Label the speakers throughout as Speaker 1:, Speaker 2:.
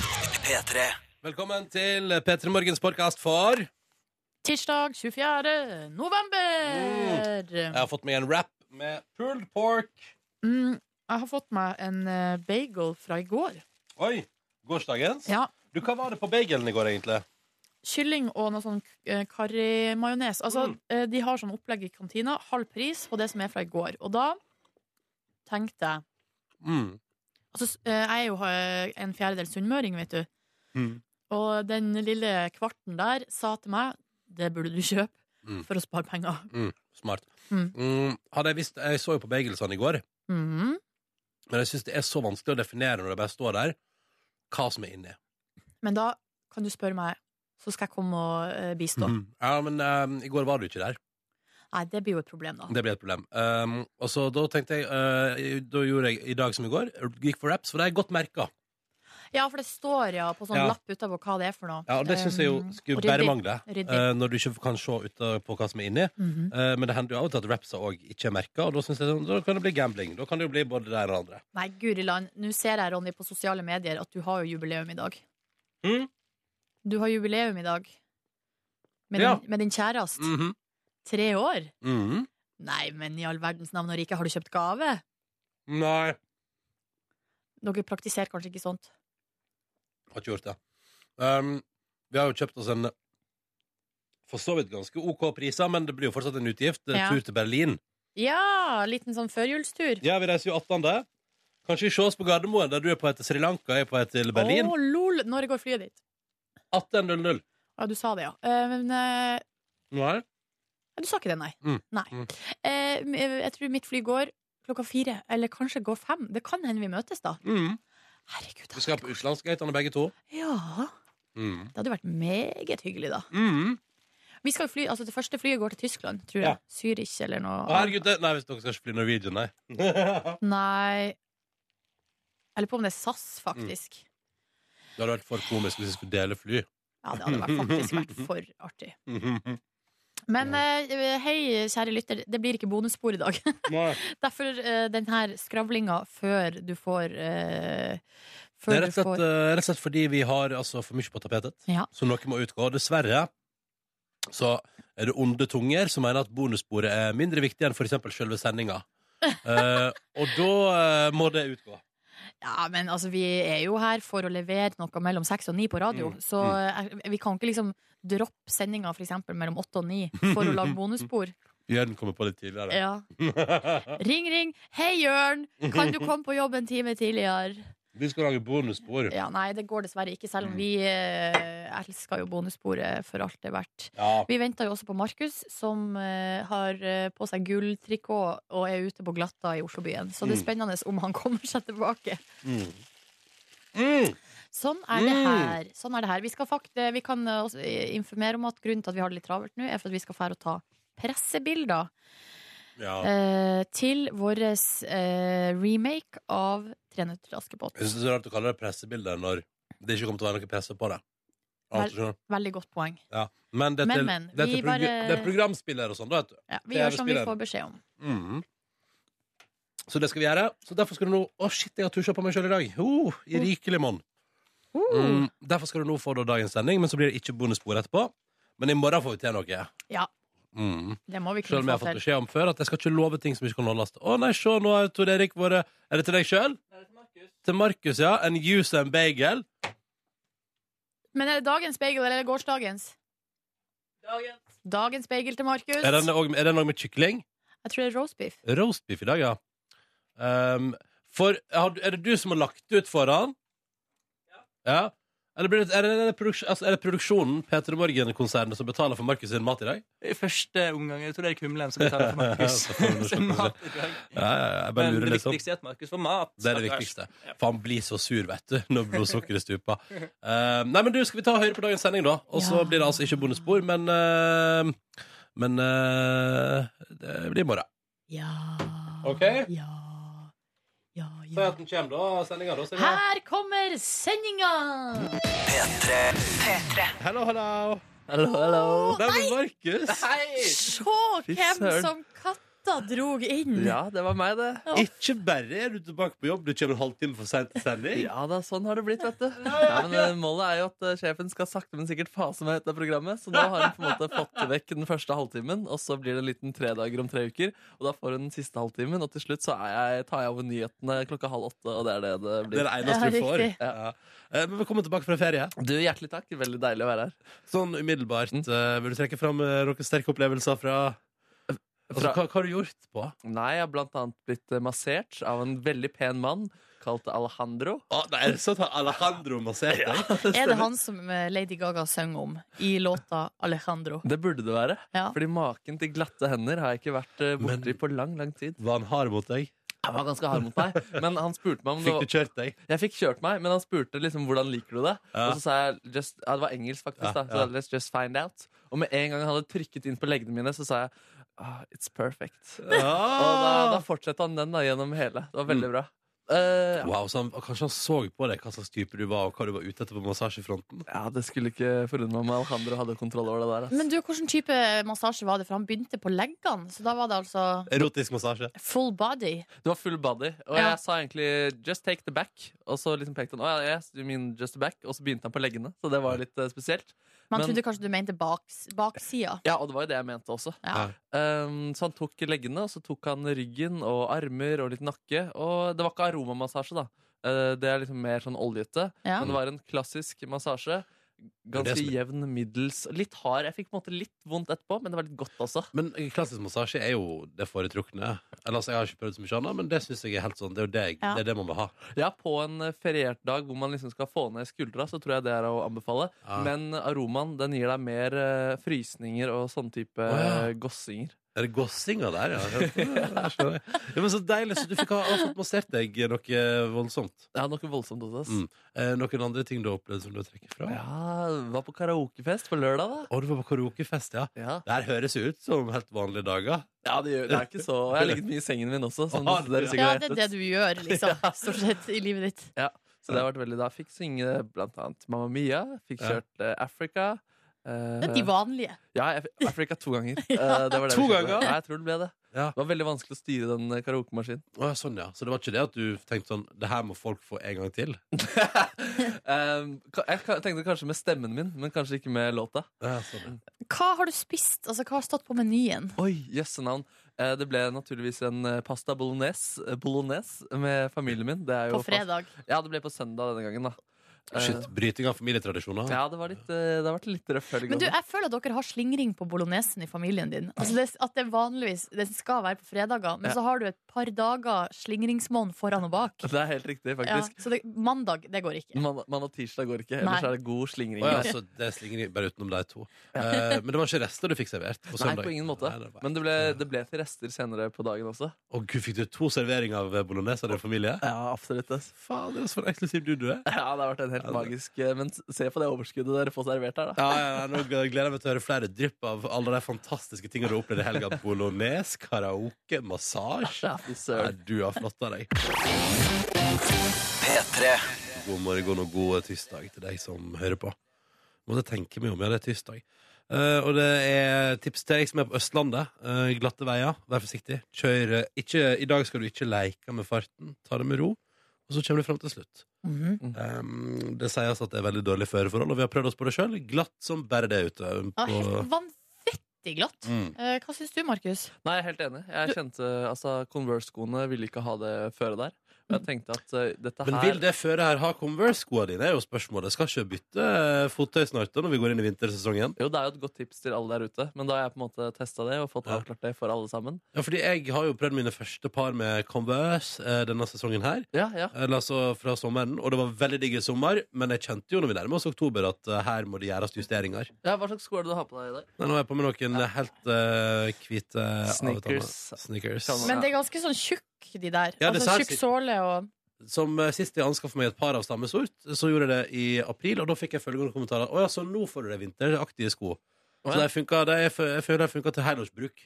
Speaker 1: P3.
Speaker 2: Velkommen til P3 Morgens podkast for Jeg
Speaker 3: Tirsdag 24. november.
Speaker 2: har fått meg en wrap med pulled pork.
Speaker 3: Mm, jeg har fått meg en eh, bagel fra i går.
Speaker 2: Oi, gårsdagens.
Speaker 3: Ja.
Speaker 2: Du, Hva var det på bagelen i går, egentlig?
Speaker 3: Kylling og noe sånn eh, karrimajones. Altså, eh, de har sånn opplegg i kantina, halv pris på det som er fra i går. Og da tenkte jeg
Speaker 2: Mm.
Speaker 3: Altså, s- eh, jeg er jo eh, en fjerdedel sunnmøring, vet du.
Speaker 2: Mm.
Speaker 3: Og den lille kvarten der sa til meg det burde du kjøpe
Speaker 2: Mm.
Speaker 3: for å spare penger.
Speaker 2: Smart.
Speaker 3: Mm.
Speaker 2: Mm, hadde jeg visst Jeg så jo på bagelsene i går,
Speaker 3: Mhm.
Speaker 2: men jeg syns det er så vanskelig å definere når det bare står der, hva som er inni.
Speaker 3: Men da kan du spørre meg, så skal jeg komme og eh, bistå.
Speaker 2: Mm. Ja, men eh, i går var du ikke der.
Speaker 3: Nei, det blir jo et problem, da.
Speaker 2: Det ble et problem. Um, og så da tenkte jeg eh, Da gjorde jeg i dag som i går. Gikk for raps, for det er godt merka.
Speaker 3: Ja, for det står ja på sånn
Speaker 2: Ja.
Speaker 3: lapp utover hva det er for noe.
Speaker 2: Ja, og det syns jeg jo
Speaker 3: Um,
Speaker 2: skulle
Speaker 3: og ryddig.
Speaker 2: bare mangle.
Speaker 3: Ryddig.
Speaker 2: eh, når du ikke kan se ut av- på hva som er inni.
Speaker 3: Mhm.
Speaker 2: Eh, men det hender jo av og til at rapsa òg ikke er merka, og da, synes jeg, sånn, da kan det bli gambling. Da kan det jo bli både det ene og det andre.
Speaker 3: Nei, guri land. Nå ser jeg, Ronny, på sosiale medier at du har jo jubileum i dag.
Speaker 2: Mm.
Speaker 3: Du har jubileum i dag. Med,
Speaker 2: Ja.
Speaker 3: din, med din kjæreste.
Speaker 2: Mhm.
Speaker 3: Tre år?
Speaker 2: Mhm.
Speaker 3: Nei, men i all verdens navn og rike, har du kjøpt gave?
Speaker 2: Nei,
Speaker 3: Dere praktiserer kanskje ikke sånt?
Speaker 2: har ikke gjort det. Um, vi har jo kjøpt oss en for så vidt ganske OK priser, men det blir jo fortsatt en utgift. eh,
Speaker 3: Ja.
Speaker 2: Tur til Berlin.
Speaker 3: Ja, liten sånn førjulstur.
Speaker 2: Ja, vi reiser jo 18. Kanskje vi sees på Gardermoen, der du er på vei til Sri Lanka, jeg er på vei til Berlin.
Speaker 3: Å, lol! Når går flyet ditt?
Speaker 2: 18.00.
Speaker 3: Ja, du sa det, ja. Eh, Men eh,
Speaker 2: Nei.
Speaker 3: Du sa ikke det, nei.
Speaker 2: Mm.
Speaker 3: nei.
Speaker 2: Mm.
Speaker 3: Eh, jeg tror mitt fly går klokka fire, eller kanskje går fem. Det kan hende vi møtes da.
Speaker 2: Mm.
Speaker 3: Herregud, det
Speaker 2: Vi skal
Speaker 3: hadde
Speaker 2: på
Speaker 3: vært-
Speaker 2: utenlandsgatene begge to.
Speaker 3: Ja,
Speaker 2: Mm.
Speaker 3: det hadde vært meget hyggelig, da.
Speaker 2: Mm.
Speaker 3: Vi skal jo fly, altså Det første flyet går til Tyskland, tror jeg.
Speaker 2: Ja.
Speaker 3: Zürich eller noe.
Speaker 2: Å, herregud, det, nei, hvis dere skal ikke fly Norwegian, nei. det
Speaker 3: Nei Jeg lurer på om det er SAS, faktisk.
Speaker 2: Mm. hadde vært for komisk hvis vi skulle dele fly.
Speaker 3: Ja, det hadde vært, faktisk vært for artig. Men eh, hei, kjære lytter, det blir ikke bonusspor i dag.
Speaker 2: Nei.
Speaker 3: Derfor eh, den her skravlinga før du får
Speaker 2: Det
Speaker 3: eh,
Speaker 2: er
Speaker 3: Før du
Speaker 2: rett og, slett,
Speaker 3: får
Speaker 2: eh, rett og slett fordi vi har altså, for mye på tapetet,
Speaker 3: Ja.
Speaker 2: så noe må utgå. Dessverre så er det onde tunger som mener at bonussporet er mindre viktig enn f.eks. selve sendinga. Eh, og da eh, må det utgå.
Speaker 3: Ja, men altså, vi er jo her for å levere noe mellom seks og ni på radio,
Speaker 2: Mm,
Speaker 3: så eh, vi kan ikke liksom droppe sendinga for eksempel mellom åtte og ni for å lage bonusspor.
Speaker 2: Jørn kommer på litt tidligere.
Speaker 3: Ja. Ring, ring! Hei, Jørn! Kan du komme på jobb en time tidligere?
Speaker 2: vi skal lage bonusspor.
Speaker 3: Ja, nei, det går dessverre ikke, selv om
Speaker 2: Mm.
Speaker 3: vi eh, elsker jo bonussporet for alt det er verdt.
Speaker 2: Ja.
Speaker 3: Vi venter jo også på Markus, som eh, har eh, på seg gulltrikot og er ute på glatta i Oslobyen. Så det er spennende om han kommer seg tilbake.
Speaker 2: Mm. Mm.
Speaker 3: Sånn er det
Speaker 2: Mm.
Speaker 3: her. Sånn er det her. Vi, skal fakt eh, vi kan eh, også eh, informere om at grunnen til at vi har det litt travelt nå, er for at vi skal fære og ta pressebilder
Speaker 2: ja.
Speaker 3: eh, til vår eh, remake av Tre nøtter til Askepott.
Speaker 2: Jeg synes det er så rart å kalle det pressebilder når det ikke kommer til å være noe presse på det. Altså, skjønner du?
Speaker 3: Veldig godt poeng.
Speaker 2: Men det er
Speaker 3: Men,
Speaker 2: til,
Speaker 3: men,
Speaker 2: det er
Speaker 3: vi
Speaker 2: til progr
Speaker 3: bare-
Speaker 2: det er programspiller og sånn, da, vet du.
Speaker 3: Ja, vi
Speaker 2: Det er
Speaker 3: gjør som vi
Speaker 2: spilleren.
Speaker 3: får beskjed om.
Speaker 2: Mhm. Så det skal vi gjøre. Så derfor skal du nå Å, shit, jeg har tusja på meg sjøl i dag! Oh, I rikelig monn.
Speaker 3: Oh. Uh,
Speaker 2: Mm, derfor skal du nå få da dagens sending, men så blir det ikke bonusspor etterpå. Men i morgen får vi til noe.
Speaker 3: Ja,
Speaker 2: Mm.
Speaker 3: det må vi
Speaker 2: Selv om jeg
Speaker 3: kunne
Speaker 2: har fått
Speaker 3: få til.
Speaker 2: beskjed om før at jeg skal ikke love ting som ikke kan holdes. Å nei, se, nå har Tor Erik vært Er det til deg sjøl? Til Markus, ja. En juice and bagel.
Speaker 3: Men er det dagens bagel eller er det gårsdagens? Dagens bagel til Markus.
Speaker 2: Er den også- er den òg med kykling?
Speaker 3: Jeg tror det er roastbeef.
Speaker 2: Roastbeef i dag, ja. Ehm, for har, du- er det du som har lagt det ut foran? Ja. Eller blir det, er, det, er, det produks, altså, er det produksjonen, Peter Morgen-konsernet, som betaler for Markus sin mat i dag?
Speaker 4: I første omgang jeg tror det er Kumlen som betaler for Markus.
Speaker 2: Så får du
Speaker 4: Sin mat i dag.
Speaker 2: Ja, ja, ja, jeg bare
Speaker 4: Men
Speaker 2: lurer
Speaker 4: det
Speaker 2: litt sånn.
Speaker 4: viktigste er at Markus får mat.
Speaker 2: Det er det
Speaker 4: stakkars.
Speaker 2: viktigste.
Speaker 4: Ja.
Speaker 2: For han blir så sur, vet du, når blodsukkeret stuper. Eh, nei, men du, skal vi ta høyre på dagens sending, da? Og så
Speaker 3: Ja.
Speaker 2: blir det altså ikke bondespor, men eh, Men eh, det blir i morgen.
Speaker 3: Ja.
Speaker 2: Ok.
Speaker 3: Ja. Ja,
Speaker 2: Si
Speaker 3: ja.
Speaker 2: at den kommer, da. Sendinga, da. Silje.
Speaker 3: Her kommer sendinga!
Speaker 2: Hello, hello.
Speaker 4: Hallo, hallo.
Speaker 2: Der var Markus.
Speaker 4: Hei!
Speaker 3: Se hvem
Speaker 4: søren.
Speaker 3: som katta Rotta drog inn.
Speaker 1: Ja, det var meg, det.
Speaker 2: Ikke bare er du tilbake på jobb, du kommer en halvtime for sent til sending.
Speaker 1: Ja da, sånn har det blitt, vet du. Ja, men eh, Målet er jo at eh, sjefen skal sakte, men sikkert fase meg ut av programmet. Så nå har hun på en måte fått vekk den første halvtimen, og så blir det en liten tre dager om tre uker. Og da får hun den siste halvtimen, og til slutt så er jeg, tar jeg over nyhetene klokka halv åtte, og det er det det
Speaker 2: Det er
Speaker 1: blir.
Speaker 2: det eneste du
Speaker 3: Ja,
Speaker 2: får.
Speaker 3: riktig.
Speaker 2: Ja. Eh, Men velkommen tilbake fra ferie.
Speaker 1: Du, hjertelig takk. Veldig deilig å være her.
Speaker 2: Sånn umiddelbart, eh, vil du trekke fram eh, noen sterke opplevelser fra altså,
Speaker 1: Fra-
Speaker 2: hva, hva har du gjort på?
Speaker 1: Nei, jeg har blant annet blitt eh, massert av en veldig pen mann kalt Alejandro.
Speaker 2: Å, nei, er det sånn at Alejandro masserte deg?
Speaker 3: Er det han som eh, Lady Gaga sang om i låta Alejandro?
Speaker 1: Det burde det være.
Speaker 3: Ja.
Speaker 1: Fordi maken til glatte hender har jeg ikke vært eh,
Speaker 2: Men-
Speaker 1: borti på lang, lang tid.
Speaker 2: Var han hard mot deg?
Speaker 1: Han var ganske hard mot meg, men han spurte meg om det
Speaker 2: Fikk
Speaker 1: var
Speaker 2: du kjørt deg?
Speaker 1: Jeg fikk kjørt meg, men han spurte liksom hvordan liker du det.
Speaker 2: Ja.
Speaker 1: Og så sa jeg just, ja, Det var engelsk, faktisk.
Speaker 2: Ja,
Speaker 1: da Så
Speaker 2: ja.
Speaker 1: Let's just find out. Og med en gang han hadde trykket inn på leggene mine, så sa jeg ah, It's perfect. Og da,
Speaker 2: Ah!
Speaker 1: da fortsatte han den da gjennom hele. Det var veldig bra. Eh, ja.
Speaker 2: Wow, så han, og kanskje han så på deg hva slags type du var, og hva du var ute etter på massasjefronten?
Speaker 1: ja, det skulle ikke forundre meg om Alejandro hadde kontroll over det der. altså. ass.
Speaker 3: Men du, hvilken type massasje var det? For han begynte på leggene, så da var det altså
Speaker 2: Erotisk massasje.
Speaker 3: full body.
Speaker 1: Det var full body, og
Speaker 3: Ja.
Speaker 1: jeg sa egentlig 'just take the back'. Og så liksom pekte han oh, yes, you mean just the back Og så begynte han på leggene, så det var litt eh, spesielt.
Speaker 3: Man
Speaker 1: Men-
Speaker 3: trodde kanskje du mente baks, baksida.
Speaker 1: Ja, Og det var jo det jeg mente også.
Speaker 3: Ja.
Speaker 1: Um, så han tok leggene, og så tok han ryggen og armer og litt nakke. Og det var ikke aromamassasje, da. Eh, det er liksom mer sånn oljete.
Speaker 3: Ja.
Speaker 1: Men det var en klassisk massasje.
Speaker 2: er det
Speaker 1: Ganske
Speaker 2: som er-
Speaker 1: jevn, middels. Litt hard. Jeg fikk på en måte litt vondt etterpå, men det var litt godt også.
Speaker 2: Men eh, klassisk massasje er jo det foretrukne. Eller, altså, jeg har ikke prøvd så mye annet, men det synes jeg er helt sånn. Det er jo det, jeg,
Speaker 3: Ja.
Speaker 2: det, er det man vil ha.
Speaker 1: Ja, på en eh, feriert dag hvor man liksom skal få ned skuldra, så tror jeg det er å anbefale.
Speaker 2: Ja.
Speaker 1: Men aromaen, den gir deg mer eh, frysninger og sånne type
Speaker 2: Å, ja.
Speaker 1: eh, gossinger.
Speaker 2: Er det gossinga der, ja? Ja, jeg skjønner. ja men så deilig. Så du fikk ha, ha fått massert deg noe voldsomt.
Speaker 1: Ja, noe voldsomt også. ass.
Speaker 2: Mm. Eh, noen andre ting du har opplevd som du har trukket fra?
Speaker 1: Ja, var på karaokefest på lørdag, da.
Speaker 2: Å, du var på karaokefest, ja.
Speaker 1: Ja.
Speaker 2: Det her høres jo ut som helt vanlige dager.
Speaker 1: Ja, det, gjør, det er ikke så Og jeg har ligget mye i sengen min også, som
Speaker 2: Har du?
Speaker 1: dere
Speaker 3: ja,
Speaker 1: sikkert
Speaker 3: det er
Speaker 1: vet.
Speaker 3: det du gjør, liksom, stort sett, i livet ditt.
Speaker 1: Så det har vært veldig da. Fikk synge blant annet Mamma Mia, fikk
Speaker 2: Ja.
Speaker 1: kjørt eh, Africa. eh,
Speaker 3: Det er de vanlige.
Speaker 1: ja, jeg fikk Africa to ganger. Eh, det var det
Speaker 2: To
Speaker 1: vi kjørte.
Speaker 2: ganger?
Speaker 1: Ja, jeg tror det ble det.
Speaker 2: Ja.
Speaker 1: Det var veldig vanskelig å styre den eh, karaokemaskinen.
Speaker 2: Å, ja, sånn, ja. Så det var ikke det at du tenkte sånn Det her må folk få en gang til?
Speaker 1: Um, ka- jeg ka- tenkte kanskje med stemmen min, men kanskje ikke med låta.
Speaker 2: Ja, sånn,
Speaker 3: Hva har du spist? Altså, hva har stått på menyen?
Speaker 1: Oi, jøsse navn. Eh, det ble naturligvis en eh, pasta bolognese, eh, bolognese med familien min. Det er jo
Speaker 3: På fredag.
Speaker 1: fast- Ja, det ble på søndag denne gangen, da.
Speaker 2: ja.
Speaker 1: Eh,
Speaker 2: Shit, Bryting av familietradisjoner.
Speaker 1: ja, det, var litt, eh, det har vært litt røff helg.
Speaker 3: Men du,
Speaker 1: også.
Speaker 3: jeg føler at dere har slingring på bolognesen i familien din. Altså det, at det vanligvis Den skal være på fredager, men
Speaker 1: Ja.
Speaker 3: så har du et par dager slingringsmåned foran og bak.
Speaker 1: Det er helt riktig,
Speaker 3: Ja,
Speaker 1: faktisk.
Speaker 3: så det, mandag, det går ikke.
Speaker 1: Mandag mandag og tirsdag går ikke, ellers
Speaker 3: Nei.
Speaker 1: er det god slingring.
Speaker 2: Å ja,
Speaker 1: der.
Speaker 2: så det slinger i- bare utenom de to. Eh, men det var ikke rester du fikk servert på
Speaker 1: Nei,
Speaker 2: søndag?
Speaker 1: på ingen måte.
Speaker 2: Nei, det var-
Speaker 1: Men det ble, det ble til rester senere på dagen også.
Speaker 2: Å gud, fikk du to serveringer av bolognese av din familie?
Speaker 1: Ja, absolutt. ass.
Speaker 2: Faen, det er så eksklusiv du du er.
Speaker 1: Ja, det har vært en helt
Speaker 2: Ja, det-
Speaker 1: magisk eh, Men s- se på det overskuddet dere får servert her, da.
Speaker 2: Ja, ja, ja, nå gleder jeg meg til å høre flere drypp av alle de fantastiske tingene du har opplevd i helga. Bolognese, karaoke, massasje.
Speaker 1: Ja, fy
Speaker 2: Nei,
Speaker 1: søren.
Speaker 2: du har flotta deg. God morgen og god tirsdag til deg som hører på. Måtte tenke meg om, ja, det er tirsdag. Eh, og det er tips til deg som er på Østlandet. eh, glatte veier, vær forsiktig. Kjør eh, ikke I dag skal du ikke leke med farten. Ta det med ro, og så kommer du fram til slutt.
Speaker 3: Mhm.
Speaker 2: Um, det sies at det er veldig dårlig føreforhold, og vi har prøvd oss på det sjøl. Glatt som bare det ute.
Speaker 3: Ja,
Speaker 2: På,
Speaker 3: Ah, helt vanvittig glatt.
Speaker 2: Mm.
Speaker 3: Eh, Hva syns du, Markus?
Speaker 1: Nei, jeg er helt enig. Jeg kjente altså Converse-skoene ville ikke ha det føret der. Og
Speaker 3: Mm.
Speaker 1: jeg tenkte at eh, dette
Speaker 2: Men vil
Speaker 1: her
Speaker 2: det føre her ha Converse-skoa dine, er jo spørsmålet. Skal ikke bytte eh, fottøy snart da, når vi går inn i vintersesongen?
Speaker 1: jo, det er jo et godt tips til alle der ute, men da har jeg på en måte testa det og fått
Speaker 2: Ja.
Speaker 1: avklart det for alle sammen.
Speaker 2: Ja, fordi jeg har jo prøvd mine første par med Converse eh, denne sesongen her.
Speaker 1: Ja, ja.
Speaker 2: Eller altså fra sommeren, og det var veldig digg i sommer, men jeg kjente jo når vi nærmer oss oktober, at eh, her må det gjøres justeringer.
Speaker 1: ja Hva slags sko er det du har på deg i dag?
Speaker 2: Nei, nå er jeg på med noen eh, helt eh, hvite
Speaker 1: Sneakers.
Speaker 2: avtaler. Sneakers.
Speaker 1: Kan man-
Speaker 3: Men det er ganske sånn tjukk, de der.
Speaker 2: Ja, det
Speaker 3: altså
Speaker 2: ser
Speaker 3: Tjukk
Speaker 2: sikkert-
Speaker 3: såle og
Speaker 2: Som eh, sist jeg anskaffet meg et par av samme sort, så gjorde jeg det i april, og da fikk jeg følgende kommentarer. Å ja, så nå får du deg vinteraktige sko.
Speaker 1: Å
Speaker 2: Så
Speaker 1: ja.
Speaker 2: de funka, de, jeg fø- jeg føler de funka til helårsbruk.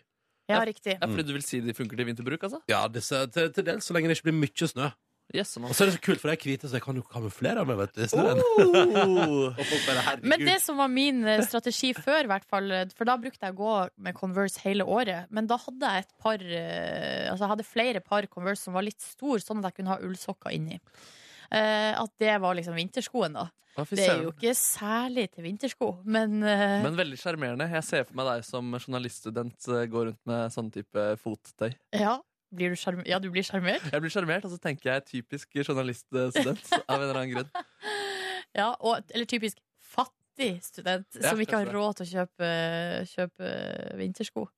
Speaker 3: Ja, riktig.
Speaker 2: Mm.
Speaker 1: Ja, fordi du vil si de funker til vinterbruk, altså?
Speaker 2: Ja, disse, til, til dels så lenge det ikke blir mye snø.
Speaker 1: Yes, man.
Speaker 2: Og så er det så kult, for de er hvite, så jeg kan jo kamuflere meg, vet du. i snøen.
Speaker 1: Oh!
Speaker 2: Og folk bare, herregud.
Speaker 3: Men det som var min eh, strategi før, i hvert fall, eh, for da brukte jeg å gå med Converse hele året. Men da hadde jeg et par eh, Altså jeg hadde flere par Converse som var litt store, sånn at jeg kunne ha ullsokker inni. Eh, at det var liksom vinterskoen, da.
Speaker 1: Å, fy
Speaker 3: Det er jo
Speaker 1: søren.
Speaker 3: ikke særlig til vintersko, men, eh,
Speaker 1: Men veldig sjarmerende. Jeg ser for meg deg som journaliststudent eh, går rundt med sånn type fottøy.
Speaker 3: ja. Blir du sjarm- ja, du blir sjarmert?
Speaker 1: Jeg blir sjarmert, og så tenker jeg typisk journaliststudent av en eller annen grunn.
Speaker 3: Ja, og, eller typisk fattig student
Speaker 1: Ja,
Speaker 3: som ikke har
Speaker 1: kanskje det.
Speaker 3: råd til å kjøpe, kjøpe vintersko.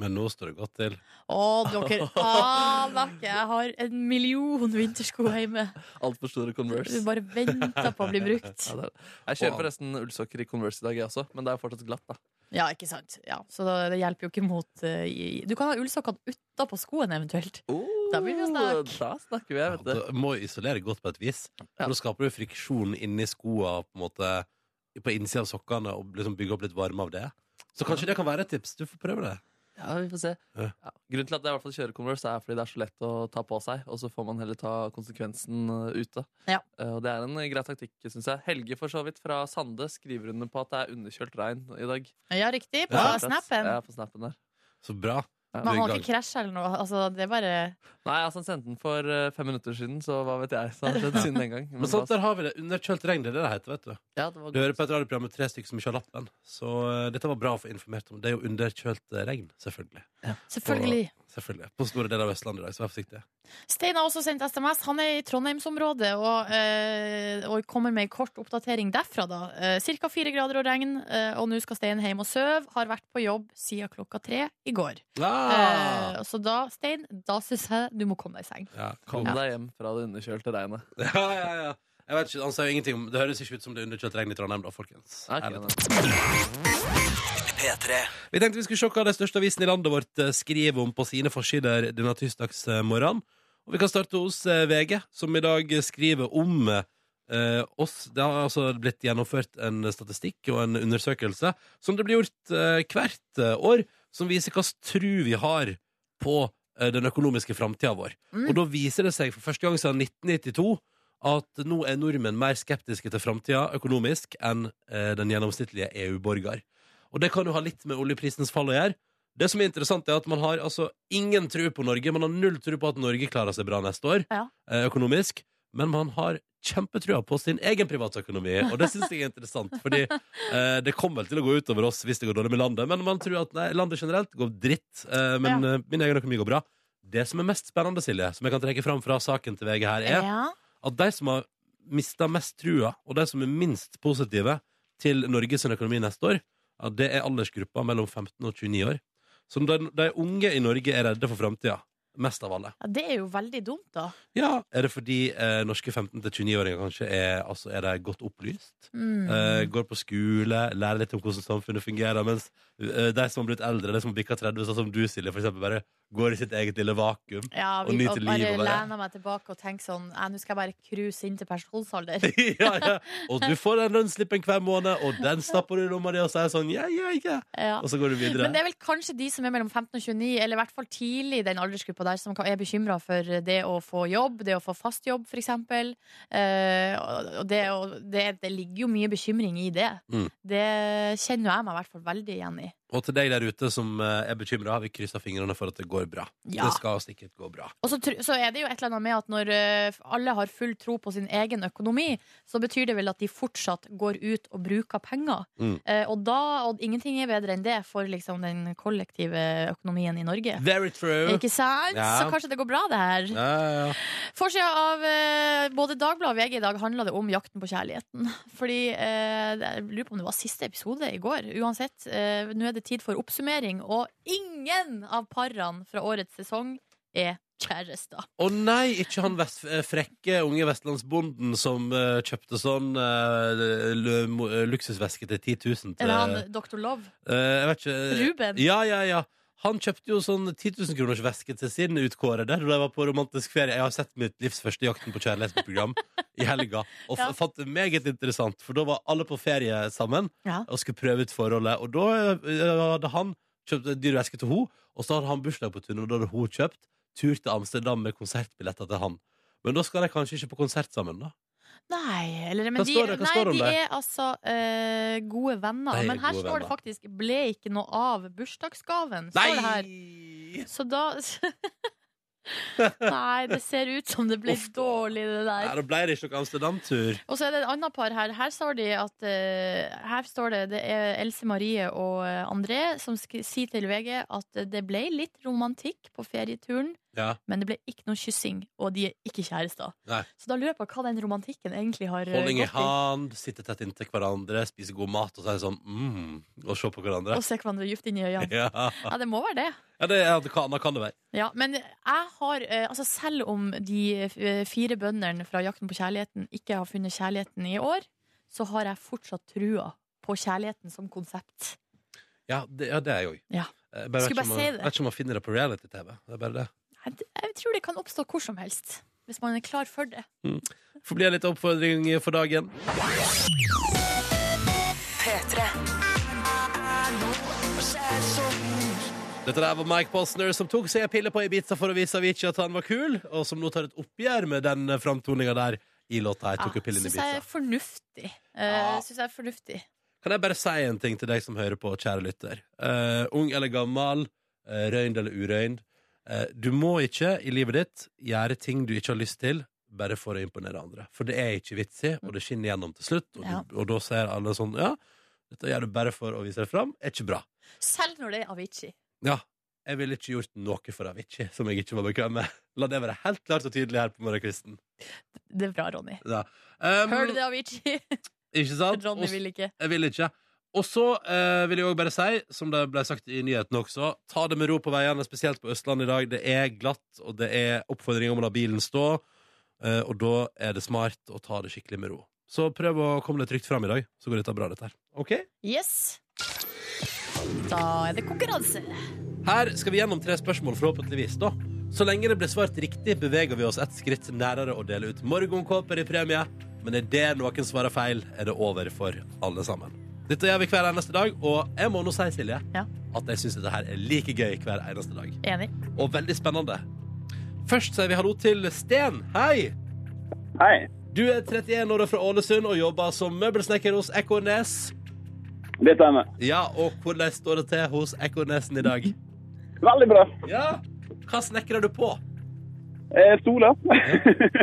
Speaker 2: Men nå står det godt til.
Speaker 3: Å, dere aner ikke! Jeg har en million vintersko hjemme.
Speaker 1: Altfor store Converse.
Speaker 3: Du bare venter på å bli brukt.
Speaker 1: Ja, det er det. Jeg kjører forresten ullsokker i Converse i dag, jeg også, men det er fortsatt glatt. da
Speaker 3: Ja, ikke sant. Ja, så da, det hjelper jo ikke mot eh, i- Du kan ha ullsokkene utapå skoen eventuelt. Da blir det jo snakk.
Speaker 1: Da snakker vi, jeg,
Speaker 2: Ja,
Speaker 1: vet du.
Speaker 2: du må jo isolere godt på et vis.
Speaker 1: Ja.
Speaker 2: For da skaper du friksjon inni skoa på en måte på innsida av sokkene og liksom bygger opp litt varme av det. Så kanskje det kan være et tips. Du får prøve det.
Speaker 1: Ja, vi får se.
Speaker 2: Ja.
Speaker 1: Ja. Grunnen til at jeg i hvert fall kjører Converse, er fordi det er så lett å ta på seg, og så får man heller ta konsekvensen eh, ute.
Speaker 3: Ja.
Speaker 1: Eh, Og det er en grei taktikk, syns jeg. Helge for så vidt fra Sande skriver under på at det er underkjølt regn i dag.
Speaker 3: Ja, riktig. På
Speaker 2: Ja.
Speaker 3: snappen.
Speaker 1: Ja, på snappen der.
Speaker 2: Så bra.
Speaker 1: Ja.
Speaker 3: Men han har
Speaker 2: Du er i
Speaker 3: ikke krasja eller noe. Altså, det er bare
Speaker 1: Nei, altså han sendte den for eh, fem minutter siden, så hva vet jeg. Så har det skjedd siden den gang. Men
Speaker 2: Men sant,
Speaker 1: da-
Speaker 2: der har vi det. Underkjølt regn, det er det det heter, vet du.
Speaker 1: ja, det var
Speaker 2: Du hører på et radioprogram med tre stykker som ikke har lappen. Så eh, dette var bra å få informert om. Det er jo underkjølt eh, regn, selvfølgelig.
Speaker 3: Selvfølgelig.
Speaker 2: Selvfølgelig. På store deler av Vestlandet i dag, så vær forsiktig.
Speaker 3: Stein har også sendt SMS. Han er i Trondheimsområdet og, eh, og kommer med en kort oppdatering derfra. da eh, Cirka fire grader og regn, eh, og nå skal Stein hjem og sove. Har vært på jobb siden klokka tre i går.
Speaker 2: Ah!
Speaker 3: Eh, så da, Stein, da syns jeg du må komme deg i seng.
Speaker 2: Ja,
Speaker 1: Kom
Speaker 2: kom.
Speaker 1: deg hjem fra det underkjølte regnet.
Speaker 2: ja, ja, ja. Jeg vet ikke, han sa jo ingenting om Det høres ikke ut som det er underkjølt regn i Trondheim, da, folkens.
Speaker 1: Ok,
Speaker 2: Ærlig talt.
Speaker 1: da.
Speaker 2: Vi tenkte vi skulle se hva den største avisen i landet vårt eh, skriver om på sine forsider denne tirsdagsmorgenen. Og vi kan starte hos eh, VG, som i dag skriver om eh, oss. Det har altså blitt gjennomført en statistikk og en undersøkelse som det blir gjort eh, hvert eh, år, som viser hva slags tro vi har på eh, den økonomiske framtida vår.
Speaker 3: Mm.
Speaker 2: Og da viser det seg for første gang siden 1992 at nå er nordmenn mer skeptiske til framtida økonomisk enn eh, den gjennomsnittlige EU-borger. Og det kan jo ha litt med oljeprisens fall å gjøre. Det som er interessant, er at man har altså ingen tro på Norge. Man har null tro på at Norge klarer seg bra neste år
Speaker 3: Ja.
Speaker 2: eh, økonomisk. Men man har kjempetrua på sin egen privatøkonomi, og det syns jeg er interessant. Fordi eh, det kommer vel til å gå utover oss hvis det går dårlig med landet, men man tror at nei, landet generelt går dritt. Eh, men eh, min egen økonomi går bra. Det som er mest spennende, Silje, som jeg kan trekke fram fra saken til VG her, er
Speaker 3: Ja.
Speaker 2: at de som har mista mest trua, og de som er minst positive til Norges økonomi neste år, ja, det er aldersgruppa mellom 15 og 29 år. Så de, de unge i Norge er redde for framtida. Mest av alle.
Speaker 3: Ja, det er jo veldig dumt, da.
Speaker 2: Ja, Er det fordi eh, norske 15- til 29-åringer kanskje er, altså, er de godt opplyst?
Speaker 3: Mm.
Speaker 2: Eh, går på skole, lærer litt om hvordan samfunnet fungerer. Mens eh, de som har blitt eldre, de som har bikka 30, sånn som du, Silje, for eksempel, bare går i sitt eget lille vakuum.
Speaker 3: ja,
Speaker 2: og
Speaker 3: vi,
Speaker 2: nyte
Speaker 3: og
Speaker 2: livet
Speaker 3: bare
Speaker 2: og være-
Speaker 3: lener meg tilbake og tenker sånn «Nei, Nå skal jeg bare cruise inn til pensjonsalder.
Speaker 2: ja, ja. Og du får den lønnsslippen hver måned, og den stapper du i lomma di og sier sånn ja, ja, ja.
Speaker 3: Ja.
Speaker 2: Og så går du videre.
Speaker 3: Men det er vel kanskje de som er mellom 15 og 29, eller i hvert fall tidlig i den aldersgruppa der, som kan- er bekymra for det å få jobb, det å få fast jobb, f.eks. Eh, og- og det, og det, det ligger jo mye bekymring i det.
Speaker 2: Mm.
Speaker 3: Det kjenner jeg meg i hvert fall veldig igjen i.
Speaker 2: Og til deg der ute som eh, er bekymra, har vi kryssa fingrene for at det går bra.
Speaker 3: Ja.
Speaker 2: Det skal sikkert gå bra.
Speaker 3: Og så, tr- så er det jo et eller annet med at når eh, alle har full tro på sin egen økonomi, så betyr det vel at de fortsatt går ut og bruker penger.
Speaker 2: Mm.
Speaker 3: Eh, og, da, og ingenting er bedre enn det for liksom, den kollektive økonomien i Norge.
Speaker 2: Very true.
Speaker 3: Ikke sant?
Speaker 2: Ja.
Speaker 3: Så kanskje det går bra, det her.
Speaker 2: Ja, ja, ja.
Speaker 3: Forsida av eh, både Dagbladet og VG i dag handla det om jakten på kjærligheten. Fordi eh, Jeg lurer på om det var siste episode i går. Uansett, eh, nå er det tid for oppsummering, og ingen av parene fra årets sesong er kjærester.
Speaker 2: Å nei, ikke han vest, eh, frekke unge vestlandsbonden som eh, kjøpte sånn eh, lø- mo- eh, luksusveske til 10 000 til
Speaker 3: Eller han Dr. Love.
Speaker 2: eh, Jeg vet ikke.
Speaker 3: Ruben.
Speaker 2: Ja, ja, ja. Han kjøpte jo sånn 10 000 kroners veske til sin utkårede da jeg var på romantisk ferie. Jeg har sett mitt livs første Jakten på kjærlighetsprogram i helga, og f
Speaker 3: Ja.
Speaker 2: fant det meget interessant, for da var alle på ferie sammen
Speaker 3: Ja.
Speaker 2: og skulle prøve ut forholdet. Og da eh, hadde han kjøpt en dyr veske til henne, og så hadde han bursdag på tunet, og da hadde hun kjøpt tur til Amsterdam med konsertbilletter til han. Men da skal de kanskje ikke på konsert sammen, da.
Speaker 3: Nei, eller,
Speaker 2: Hva
Speaker 3: men de,
Speaker 2: står det? Hva
Speaker 3: nei,
Speaker 2: står det om
Speaker 3: de
Speaker 2: det?
Speaker 3: er altså eh, gode venner.
Speaker 2: De er
Speaker 3: men her
Speaker 2: gode
Speaker 3: står det
Speaker 2: venner.
Speaker 3: faktisk 'ble ikke noe av bursdagsgaven'. Står det her. Så da Nei, det ser ut som det ble
Speaker 2: Uff da.
Speaker 3: dårlig, det
Speaker 2: Nei,
Speaker 3: der.
Speaker 2: da ble det ikke noe Amsterdam-tur.
Speaker 3: Og så er det et annet par her. Her står, de at, eh, her står det det er Else Marie og eh, André som sk sier til VG at det ble litt romantikk på ferieturen,
Speaker 2: Ja.
Speaker 3: men det ble ikke noe kyssing, og de er ikke kjærester.
Speaker 2: Nei.
Speaker 3: Så da lurer jeg på hva den romantikken egentlig har eh,
Speaker 2: Holdning i
Speaker 3: gått i.
Speaker 2: hand, sitte tett inntil hverandre, spise god mat og så er det sånn mm, og se på hverandre.
Speaker 3: Og se hverandre djupt inn i øynene.
Speaker 2: Ja,
Speaker 3: Ja, det må være det.
Speaker 2: ja det er, hva annet kan det være?
Speaker 3: Ja, men jeg har eh, Altså selv om de eh, fire bøndene fra Jakten på kjærligheten ikke har funnet kjærligheten i år, så har jeg fortsatt trua på kjærligheten som konsept.
Speaker 2: Ja, det, ja, det er jeg òg. Jeg
Speaker 3: Ja. Skulle
Speaker 2: vet ikke
Speaker 3: bare
Speaker 2: om
Speaker 3: si
Speaker 2: jeg-
Speaker 3: det.
Speaker 2: vet ikke om man finner det på reality-TV. Det er bare det.
Speaker 3: Jeg, jeg tror det kan oppstå hvor som helst, hvis man er klar for det.
Speaker 2: Får bli en liten oppfordring for dagen. Dette der var Mike Posner som tok seg en pille på Ibiza for å vise Avicii at han var kul, og som nå tar et oppgjør med den framtoninga der i låta 'Jeg tok en pille i
Speaker 3: Syns jeg er
Speaker 2: Ibiza'.
Speaker 3: fornuftig. Uh,
Speaker 2: Ja.
Speaker 3: Syns jeg er fornuftig.
Speaker 2: Kan jeg bare si en ting til deg som hører på, kjære lytter? Eh, ung eller gammel, uh, røynd eller urøynd. eh, du må ikke i livet ditt gjøre ting du ikke har lyst til, bare for å imponere andre. For det er ikke vits i, og det skinner gjennom til slutt. Og,
Speaker 3: Ja.
Speaker 2: du, og da ser alle sånn Ja, dette gjør du bare for å vise deg fram. Er ikke bra.
Speaker 3: Selv når det er Avicii.
Speaker 2: Ja, jeg ville ikke gjort noe for Avicii som jeg ikke var bekvem med. La det være helt klart og tydelig her på morgenkvisten.
Speaker 3: Det er bra, Ronny.
Speaker 2: Um,
Speaker 3: Hører du det, Avicii?
Speaker 2: Ikke sant?
Speaker 3: Ronny
Speaker 2: Og-
Speaker 3: vil ikke.
Speaker 2: Jeg vil ikke. Og så eh, vil jeg òg bare si, som det ble sagt i nyheten også, ta det med ro på veiene, spesielt på Østlandet i dag. Det er glatt, og det er oppfordring om å la bilen stå. eh, og da er det smart å ta det skikkelig med ro. Så prøv å komme deg trygt fram i dag, så går dette bra, dette her. Ok?
Speaker 3: Yes. Da er det konkurranse.
Speaker 2: Her skal vi gjennom tre spørsmål, forhåpentligvis. da. Så lenge det blir svart riktig, beveger vi oss ett skritt nærere å dele ut morgenkåper i premie. Men er det noen svarer feil, er det over for alle sammen. Dette gjør vi hver eneste dag, og jeg må nå si, Silje,
Speaker 3: Ja.
Speaker 2: at jeg syns dette her er like gøy hver eneste dag.
Speaker 3: Enig.
Speaker 2: Og veldig spennende. Først sier vi hallo til Sten. Hei!
Speaker 5: Hei.
Speaker 2: Du er 31 år og fra Ålesund og jobber som møbelsnekker hos Ekornes.
Speaker 5: Det stemmer.
Speaker 2: Ja, og hvordan står det til hos Ekornesen i dag?
Speaker 5: Veldig bra.
Speaker 2: Ja, hva snekrer du på?
Speaker 5: Eh, Sola.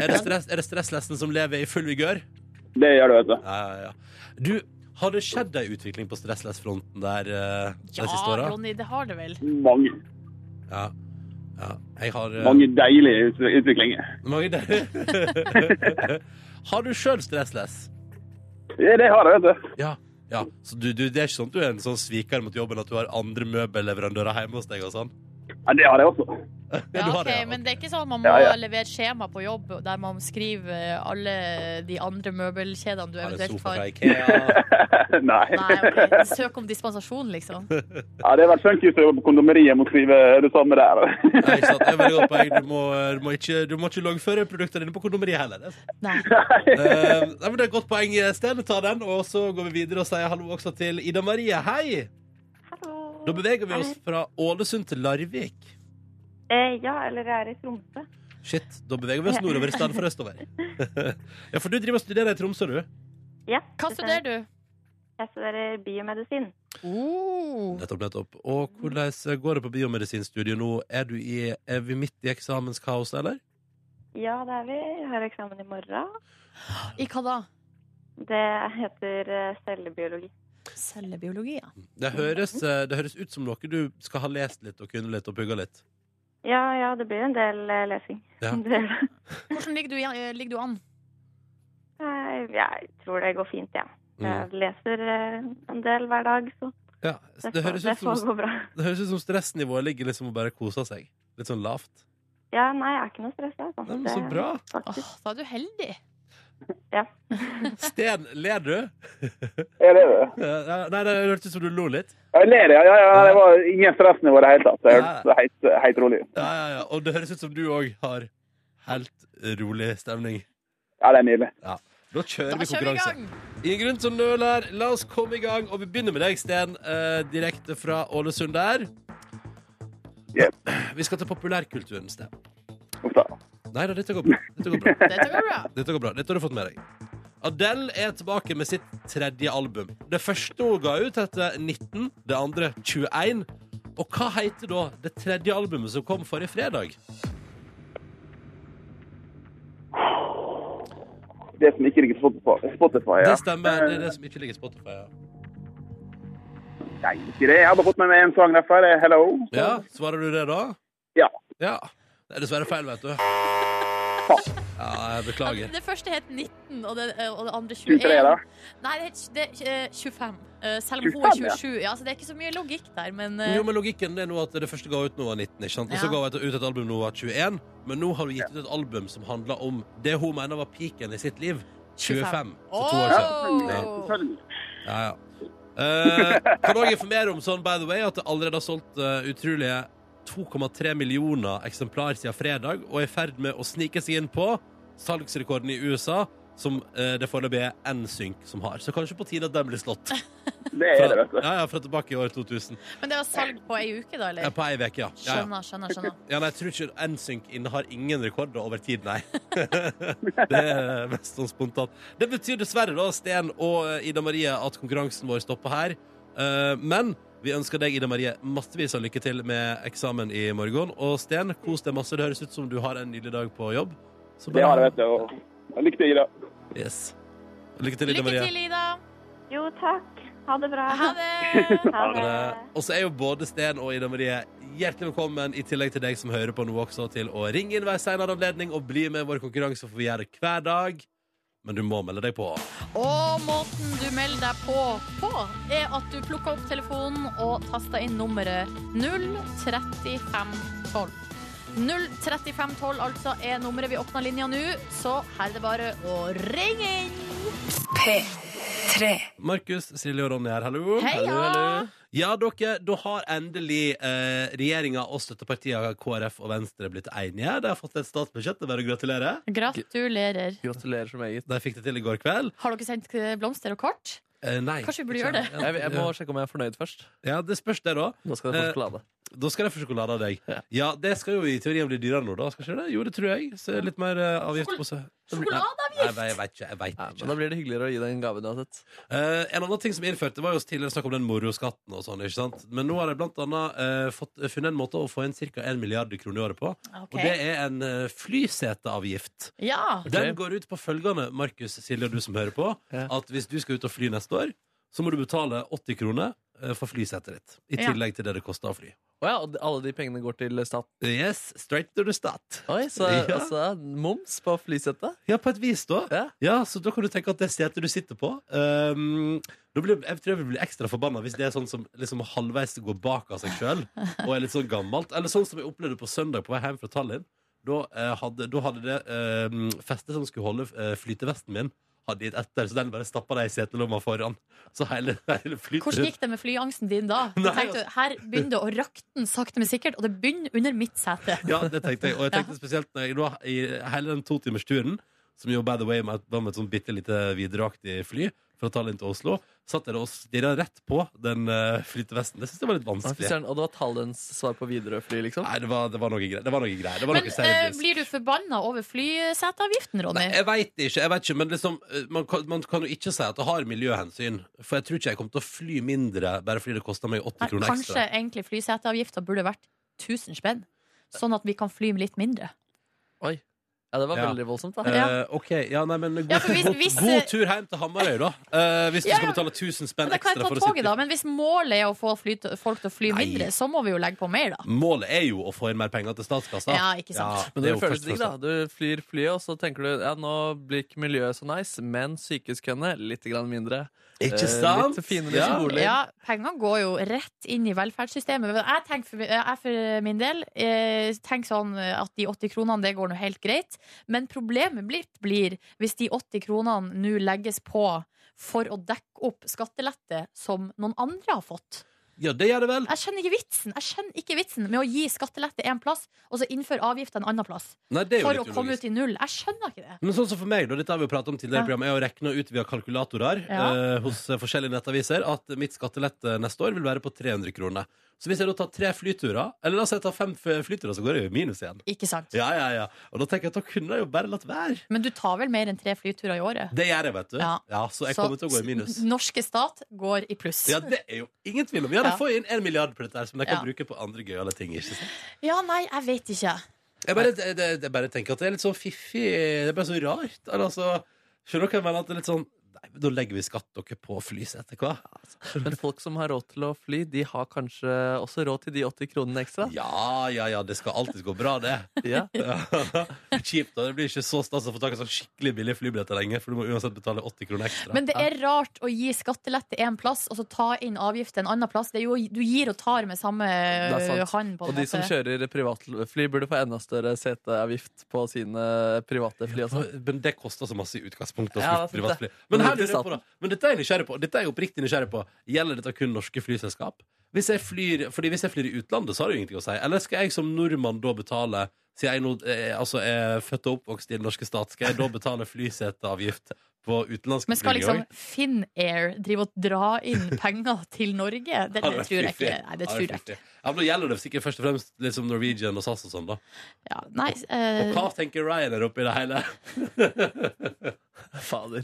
Speaker 2: Er det, stress, er det stresslessen som lever i full vigør?
Speaker 5: det gjør det, vet du.
Speaker 2: Ja, ja, ja. Du, har det skjedd ei utvikling på stresslessfronten der eh, de
Speaker 3: Ja,
Speaker 2: siste åra?
Speaker 3: Ronny, det har det vel.
Speaker 5: Mange,
Speaker 2: Ja. ja. Jeg har eh,
Speaker 5: mange deilige ut- utviklinger.
Speaker 2: mange der. har du sjøl stressless?
Speaker 5: Ja, det har jeg, vet du.
Speaker 2: Ja. ja. Så du, du, det er ikke sånn at du er en sånn sviker mot jobben at du har andre møbelleverandører hjemme hos deg og sånn?
Speaker 5: Ja, det har jeg også.
Speaker 2: Du
Speaker 3: Ja,
Speaker 2: har
Speaker 3: ok,
Speaker 2: det, ja.
Speaker 3: Men det er ikke sånn at man må
Speaker 5: Ja, ja.
Speaker 3: levere skjema på jobb der man skriver eh, alle de andre møbelkjedene du
Speaker 2: Har en
Speaker 3: eventuelt
Speaker 2: sofa fra
Speaker 3: har.
Speaker 2: Ikea?
Speaker 5: Nei.
Speaker 3: Nei, ok. Søk om dispensasjon, liksom.
Speaker 5: Ja, det har vært funky å jobbe på kondomeriet med å skrive det samme der.
Speaker 2: Nei, ikke sant? Det er veldig godt poeng. Du må, eh, du må ikke, du må ikke loggføre produktene dine på kondomeriet heller. Det er
Speaker 3: Nei.
Speaker 2: Eh, nei, men det er et godt poeng, eh, Sten. Ta den, og så går vi videre og sier hallo også til Ida Marie. Hei! Da beveger vi oss fra Ålesund til Larvik.
Speaker 6: Eh, ja, eller jeg er i Tromsø.
Speaker 2: Shit, da beveger vi oss nordover i stedet for østover. ja, for du driver og studerer i Tromsø, du?
Speaker 6: Ja,
Speaker 3: Hva
Speaker 6: det
Speaker 3: studerer
Speaker 6: stemmer.
Speaker 3: du?
Speaker 6: Jeg studerer biomedisin.
Speaker 3: Oh.
Speaker 2: Nettopp, nettopp. Og hvordan går det på biomedisinstudiet nå? Er, du i, er vi midt i eksamenskaoset, eller?
Speaker 6: Ja, det er vi. Jeg har eksamen i morgen.
Speaker 3: I hva da?
Speaker 6: Det heter eh, cellebiologi.
Speaker 3: Cellebiologi, ja.
Speaker 2: Det høres, eh, det høres ut som noe du skal ha lest litt og kunne litt og pugga litt.
Speaker 6: Ja, ja, det blir en del eh, lesing.
Speaker 2: Ja.
Speaker 6: Det gjør det.
Speaker 3: Hvordan ligger du, i- eh, ligger du an?
Speaker 6: Nei, Jeg tror det går fint, jeg. Ja.
Speaker 2: Mm.
Speaker 6: Jeg leser eh, en del hver dag, så
Speaker 2: Ja,
Speaker 6: det,
Speaker 2: det,
Speaker 6: får-
Speaker 2: høres
Speaker 6: det
Speaker 2: ut
Speaker 6: får
Speaker 2: som,
Speaker 6: gå bra.
Speaker 2: det høres ut som stressnivået ligger liksom og bare koser seg. Litt sånn lavt.
Speaker 6: Ja, nei, jeg er ikke noe stressa. Altså.
Speaker 2: Nei, men så
Speaker 6: Det-
Speaker 2: bra.
Speaker 3: Åh,
Speaker 6: Faktisk.
Speaker 3: da er du heldig.
Speaker 2: Sten, ler du?
Speaker 5: Er det det?
Speaker 2: Ja, Nei, det hørtes ut som du lo litt.
Speaker 5: Jeg ler, ja. ja, ja. Det var ingen stressnivå i det hele tatt. Det hørtes helt, helt rolig ut.
Speaker 2: Ja, ja, ja. Og det høres ut som du òg har helt rolig stemning.
Speaker 5: Ja, det er nydelig.
Speaker 2: Da kjører
Speaker 3: Da
Speaker 2: vi
Speaker 3: kjører vi i
Speaker 2: konkurranse.
Speaker 3: gang!
Speaker 2: Ingen grunn til å nøle her. La oss komme i gang. Og vi begynner med deg, Sten, eh, direkte fra Ålesund der.
Speaker 5: Yep.
Speaker 2: Vi skal til populærkulturen, Sten.
Speaker 5: Uff da.
Speaker 2: Nei da, dette går bra. Dette går bra.
Speaker 3: Dette går bra.
Speaker 2: Dette går bra. Dette har du fått med deg. Adele er tilbake med sitt tredje album. Det første hun ga ut, heter 19. Det andre 21. Og hva heter da det tredje albumet som kom forrige fredag?
Speaker 5: Det som ikke ligger på Spotify- Spotify. Ja.
Speaker 2: Det stemmer. Det er det som ikke ligger i Spotify. Ja.
Speaker 5: Nei, ikke det. Jeg hadde fått med meg en sang derfor. det er Hello.
Speaker 2: ja, Svarer du det da?
Speaker 5: Ja.
Speaker 2: Ja. Det er dessverre feil, vet du. Ja, jeg beklager.
Speaker 3: Det første het 19, og det, eh, og det andre 21.
Speaker 5: 23, da.
Speaker 3: Nei, det het det, eh, 25. eh, Selv om hun
Speaker 5: 25,
Speaker 3: er
Speaker 5: ja.
Speaker 3: 27. Ja, så det er ikke så mye logikk der, men eh,
Speaker 2: Jo, men Logikken det er nå at det første ga ut nå var 19, ikke sant? og så
Speaker 3: Ja.
Speaker 2: ga hun et- ut et album nå var 21. Men nå har hun gitt ut et album som handler om det hun mener var piken i sitt liv. 25. For to år siden.
Speaker 3: Åh!
Speaker 2: Ja, ja. Eh, kan òg informere om sånn, by the way, at det allerede har solgt eh, utrolige 2,3 millioner eksemplar siden fredag, og er i ferd med å snike seg inn på salgsrekorden i USA, som eh, det foreløpig er NSYNC som har. Så kanskje på tide at den blir slått.
Speaker 5: Det er det,
Speaker 2: Fra,
Speaker 5: vet du.
Speaker 2: ja, ja, fra tilbake i år 2000.
Speaker 3: Men det var salg på ei uke, da,
Speaker 2: Ja,
Speaker 3: eller?
Speaker 2: på ei uke, ja. ja, ja.
Speaker 3: Skjønner, skjønner, skjønner.
Speaker 2: ja nei, jeg tror ikke NSYNC innehar ingen rekorder over tid, nei. det er mest sånn spontant. Det betyr dessverre, da, Sten og eh, Ida Marie, at konkurransen vår stopper her. Eh, Men vi ønsker deg, Ida Marie, massevis av lykke til med eksamen i morgen. Og Sten, kos deg masse. Det høres ut som du har en nydelig dag på jobb. Så
Speaker 5: Det har jeg, vet du. og- Lykke til, Ida.
Speaker 2: Yes. Lykke til, Ida
Speaker 3: Lykke
Speaker 2: Marie.
Speaker 3: til, Ida.
Speaker 6: Jo, takk. Ha det bra.
Speaker 3: Ha det.
Speaker 6: Ha det.
Speaker 2: Eh, Og så er jo både Sten og Ida Marie hjertelig velkommen, i tillegg til deg som hører på nå også, til å ringe inn ved en senere anledning og bli med i vår konkurranse, for vi gjør det hver dag. Men du må melde deg på.
Speaker 3: Og måten du melder deg på på, er at du plukker opp telefonen og taster inn nummeret 03512. 03512 altså er nummeret vi åpner linja nå, så her er det bare å ringe inn.
Speaker 2: Markus, Silje og Ronny her, hallo.
Speaker 3: Heia!
Speaker 2: Ja, dere, da har endelig eh, regjeringa og støttepartiene KrF og Venstre blitt enige. De har fått et statsbudsjett, det er bare å gratulere.
Speaker 3: Gratulerer.
Speaker 1: Gratulerer så meget.
Speaker 2: De fikk det til i går kveld.
Speaker 3: Har dere sendt blomster og kort?
Speaker 2: Eh, nei.
Speaker 3: Kanskje vi burde gjøre det.
Speaker 1: Jeg, jeg må sjekke om jeg er fornøyd først.
Speaker 2: Ja, det spørs det, da.
Speaker 1: Nå skal jeg
Speaker 2: Eh,
Speaker 1: få sjokolade.
Speaker 2: Da skal de få sjokolade av deg. Ja.
Speaker 1: Ja.
Speaker 2: Det skal jo i teorien bli dyrere nå, da. Skal ikke det? Jo, det tror jeg. Så litt mer eh, avgift på seg. Nei,
Speaker 3: Sjokoladeavgift!
Speaker 2: nei, jeg veit ikke. Jeg vet
Speaker 1: Ja,
Speaker 2: ikke.
Speaker 1: men da blir det hyggeligere å gi deg en gave uansett.
Speaker 2: Eh, en annen ting som er innført, det var jo tidligere snakk om den moroskatten og sånn, ikke sant. Men nå har de blant annet eh, fått, funnet en måte å få inn ca. 1 milliard kroner i året på. Og det
Speaker 3: Ok.
Speaker 2: er en eh, flyseteavgift.
Speaker 3: Ja.
Speaker 2: Den går ut på følgende, Markus, Silje og du som hører på,
Speaker 1: Ja.
Speaker 2: at hvis du skal ut og fly neste år, så må du betale 80 kroner eh, for flysetet ditt. I
Speaker 3: Ja.
Speaker 2: tillegg til det det koster å fly.
Speaker 1: Å ja, og de- alle de pengene går til stat.
Speaker 2: Yes, straight to the stat.
Speaker 1: Oi, så
Speaker 2: Ja.
Speaker 1: altså, moms på flysettet?
Speaker 2: Ja, på et vis, da. Ja.
Speaker 1: Ja.
Speaker 2: Så da kan du tenke at det setet du sitter på ehm, da blir, Jeg tror jeg vil bli ekstra forbanna hvis det er sånn som liksom halvveis går bak av seg sjøl og er litt sånn gammelt. Eller sånn som jeg opplevde på søndag på vei hjem fra Tallinn. Da, eh, hadde, da hadde det ehm, festet som skulle holde eh, flytevesten min, hadde gitt etter, så den bare stappa deg i setelomma foran. Så hele, hele flyter
Speaker 3: Hvordan gikk det med flyangsten din da? Du
Speaker 2: Nei, altså.
Speaker 3: tenkte, her begynner det å rakne sakte, men sikkert, og det begynner under mitt sete.
Speaker 2: Ja, det tenkte jeg. Og jeg tenkte spesielt når jeg, da, i hele den totimersturen, som jo by the way med- var med et sånn bitte lite videreaktig fly fra Tallinn til Oslo, satt jeg da og stirra rett på den eh, flytevesten. Det syns jeg var litt
Speaker 1: Ja, fy
Speaker 2: vanskelig.
Speaker 1: søren, Og det var Tallinns svar på Widerøe-fly, liksom?
Speaker 2: Nei, det var, det var noe greier. Det var noe greier. Det var
Speaker 3: Men
Speaker 2: noe
Speaker 3: eh,
Speaker 2: seriøst.
Speaker 3: blir du forbanna over flyseteavgiften, Ronny?
Speaker 2: Nei, jeg veit ikke, jeg vet ikke, men liksom, eh, man, kan, man kan jo ikke si at det har miljøhensyn. For jeg tror ikke jeg kommer til å fly mindre bare fordi det koster meg 80
Speaker 3: Nei,
Speaker 2: kroner
Speaker 3: Kanskje
Speaker 2: ekstra.
Speaker 3: egentlig flyseteavgifta burde vært 1000 spenn, sånn at vi kan fly litt mindre.
Speaker 1: Oi. Ja, det var
Speaker 2: Ja.
Speaker 1: veldig voldsomt, da.
Speaker 2: Eh,
Speaker 3: Ja.
Speaker 2: ok, ja, nei, men god,
Speaker 3: Ja, for hvis-
Speaker 2: god,
Speaker 3: hvis- eh,
Speaker 2: god tur hjem til Hamarøy, da. Eh, hvis du
Speaker 3: Ja,
Speaker 2: skal
Speaker 3: ja.
Speaker 2: betale 1000
Speaker 3: Men
Speaker 2: spenn
Speaker 3: da kan jeg
Speaker 2: ekstra
Speaker 3: ta
Speaker 2: for å sitte
Speaker 3: toget, da. Men hvis målet er å få fly, folk til å fly
Speaker 2: Nei.
Speaker 3: mindre, så må vi jo legge på mer, da.
Speaker 2: Målet er jo å få inn mer penger til statskassa.
Speaker 3: Ja, ikke sant.
Speaker 2: det
Speaker 1: Men det,
Speaker 2: er jo
Speaker 1: føles
Speaker 2: først
Speaker 1: digg, da.
Speaker 2: og
Speaker 1: Du flyr flyet, og så tenker du ja, nå blir ikke miljøet så nice, men sykehuskøene litt grann mindre.
Speaker 2: fremst. Ikke
Speaker 1: Eh,
Speaker 2: sant?
Speaker 1: Litt finere
Speaker 2: Ja.
Speaker 1: skoler.
Speaker 3: Ja, Pengene går jo rett inn i velferdssystemet. Men jeg, tenker for, jeg for min del eh, tenker sånn at de 80 kronene det går nå helt greit. Men problemet blitt blir hvis de 80 kronene nå legges på for å dekke opp skattelette som noen andre har fått.
Speaker 2: Ja, det gjør det vel.
Speaker 3: Jeg skjønner ikke vitsen Jeg skjønner ikke vitsen med å gi skattelette en plass og så innføre avgifter en annen plass.
Speaker 2: Nei, det er jo
Speaker 3: For å
Speaker 2: litt
Speaker 3: komme
Speaker 2: ulogisk.
Speaker 3: ut i null. Jeg skjønner ikke det.
Speaker 2: Men sånn som for meg, da, dette har vi jo pratet om tidligere i
Speaker 3: Ja.
Speaker 2: programmet, er å rekne ut via kalkulatorer
Speaker 3: Ja.
Speaker 2: eh, hos eh, forskjellige nettaviser at mitt skattelette neste år vil være på 300 kroner. Så hvis jeg da tar tre flyturer, eller la oss si jeg tar fem f- flyturer, så går jeg jo i minus igjen.
Speaker 3: Ikke sant?
Speaker 2: Ja, ja, ja. Og da tenker jeg at da kunne jeg jo bare latt være.
Speaker 3: Men du tar vel mer enn tre flyturer i året?
Speaker 2: Det gjør jeg, vet du. Ja,
Speaker 3: Ja.
Speaker 2: Så jeg kommer til å gå i minus.
Speaker 3: s- norske stat går i pluss.
Speaker 2: Ja, det er jo ingen tvil om. Ja, de
Speaker 3: Ja.
Speaker 2: får inn en milliard på dette her, som de kan
Speaker 3: Ja.
Speaker 2: bruke på andre gøyale ting. ikke sant?
Speaker 3: Ja, nei, jeg vet ikke.
Speaker 2: Jeg bare, det, det, jeg bare tenker at det er litt sånn fiffig. Det er bare så rart. Eller Altså, skjønner dere hva jeg mener? At det er litt sånn Nei, men da legger vi skatt dere på flysetet, hva?
Speaker 1: Men folk som har råd til å fly, de har kanskje også råd til de 80 kronene ekstra.
Speaker 2: Ja, ja, ja, det skal alltid gå bra, det.
Speaker 1: Ja.
Speaker 2: Ja. Kjipt, da. Det blir ikke så stas å få tak i sånn skikkelig billig flybilletter lenger, for du må uansett betale 80 kroner ekstra.
Speaker 3: Men det er rart å gi skattelette en plass og så ta inn avgift en annen plass. Det er jo, du gir og tar med samme
Speaker 1: er sant.
Speaker 3: ø, hånd, på
Speaker 1: Og
Speaker 3: en
Speaker 1: de som
Speaker 3: måte.
Speaker 1: kjører privatfly, burde få enda større seteavgift på sine private fly. Også.
Speaker 2: Altså, Men det koster så masse i utgangspunktet. å skulle
Speaker 1: Ja, det er sant
Speaker 2: privatfly.
Speaker 1: det.
Speaker 2: Men,
Speaker 1: Men
Speaker 2: her
Speaker 1: det er
Speaker 2: lurer jeg på, da. Men dette er jeg nysgjerrig på. Dette er jeg oppriktig nysgjerrig på. Gjelder dette kun norske flyselskap? Hvis jeg flyr, fordi hvis jeg flyr i utlandet, så har det jo ingenting å si. Eller skal jeg som nordmann da betale Siden jeg nå eh, altså er født og oppvokst i den norske stat, skal jeg da betale flyseteavgift på utenlandske
Speaker 3: Men
Speaker 2: fly
Speaker 3: skal
Speaker 2: i
Speaker 3: liksom
Speaker 2: år?
Speaker 3: Finnair drive og dra inn penger til Norge? Det,
Speaker 2: Hadde
Speaker 3: det
Speaker 2: vært
Speaker 3: tror jeg
Speaker 2: fiffig.
Speaker 3: ikke. Nei,
Speaker 2: Hadde
Speaker 3: det
Speaker 2: vært
Speaker 3: tror jeg ikke.
Speaker 2: fiffig. Ja, men Da gjelder det sikkert først og fremst liksom Norwegian og SAS og sånn, da.
Speaker 3: Ja, nei, eh,
Speaker 2: Og hva
Speaker 3: ø,
Speaker 2: tenker Ryanair oppi det hele?
Speaker 1: Fader.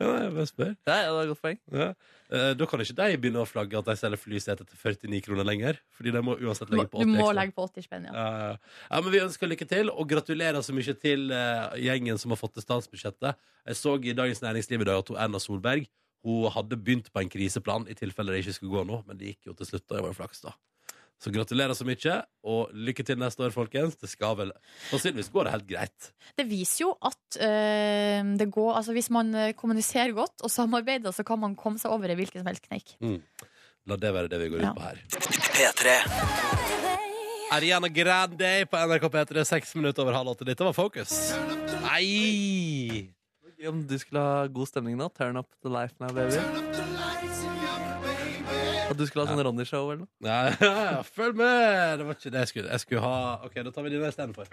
Speaker 2: Ja, jeg bare spør.
Speaker 1: Ja, ja, det er et godt poeng.
Speaker 2: Ja. Eh, Da kan ikke de begynne å flagge at de selger flysete til 49 kroner lenger. Fordi de må uansett legge på 80
Speaker 3: du må
Speaker 2: ekstra.
Speaker 3: legge på 80 spenn, ja.
Speaker 2: Ja, ja, ja. ja, men Vi ønsker lykke til, og gratulerer så mye til eh, gjengen som har fått til statsbudsjettet. Jeg så i Dagens Næringsliv i dag at hun Erna Solberg Hun hadde begynt på en kriseplan i tilfelle det ikke skulle gå nå, men det gikk jo til slutt. og Det var jo flaks, da. Så gratulerer så mye, og lykke til neste år, folkens. Det skal vel Sannsynligvis går det helt greit.
Speaker 3: Det viser jo at ø, det går Altså, hvis man ø, kommuniserer godt og samarbeider, så kan man komme seg over i hvilken som helst kneik.
Speaker 2: La det være det vi går
Speaker 3: Ja.
Speaker 2: ut på her. Ariana Grande på NRK P3, seks minutter over halv åtte. Dette var Focus. Nei!
Speaker 1: Om du skulle ha god stemning nå, turn up the life now, baby. At du skulle ha sånn Ronny-show eller noe.
Speaker 2: Nei, følg med! Det var ikke det jeg skulle. Jeg skulle ha OK, da tar vi dine istedenfor.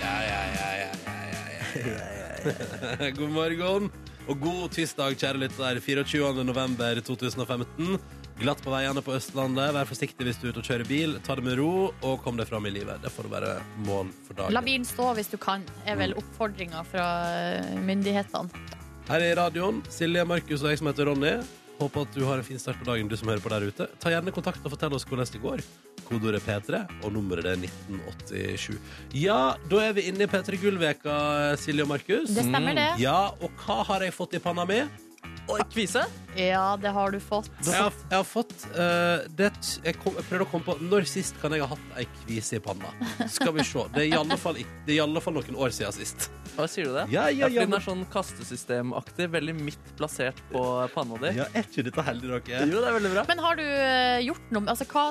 Speaker 2: Ja, ja, ja, ja, ja, ja, ja, ja. God morgen og god tirsdag, kjære lytter. 24. november 2015. Glatt på veiene på Østlandet. Vær forsiktig hvis du er ute og kjører bil. Ta det med ro og kom deg fram i livet. Det får være mål for dagen.
Speaker 3: La bilen stå hvis du kan, er vel oppfordringa fra eh, myndighetene.
Speaker 2: Her i radioen, Silje, Markus og jeg som heter Ronny. Håper at du har en fin start på dagen, du som hører på der ute. Ta gjerne kontakt og fortell oss hvordan det går. Kodeordet P3, og nummeret det er 1987. Ja, da er vi inne i P3 Gull-veka, Silje og Markus.
Speaker 3: Det stemmer, det.
Speaker 2: Ja, og hva har jeg fått i panna mi?
Speaker 1: Oi, kvise!
Speaker 3: Ja, det har du fått.
Speaker 2: Jeg har, jeg har fått eh, det, jeg, kom, jeg prøvde å komme på når sist kan jeg ha hatt ei kvise i panna. Skal vi se. Det er i alle fall, ikke- det er i alle fall noen år siden sist.
Speaker 1: Hva sier du det?
Speaker 2: Ja, ja,
Speaker 1: fordi
Speaker 2: ja,
Speaker 1: den
Speaker 2: men-
Speaker 1: er sånn kastesystemaktig, veldig midt plassert på panna di.
Speaker 2: Ja, er ikke dette heldig, dere?
Speaker 1: Jo, det er veldig bra.
Speaker 3: Men har du eh, gjort noe Altså, hva,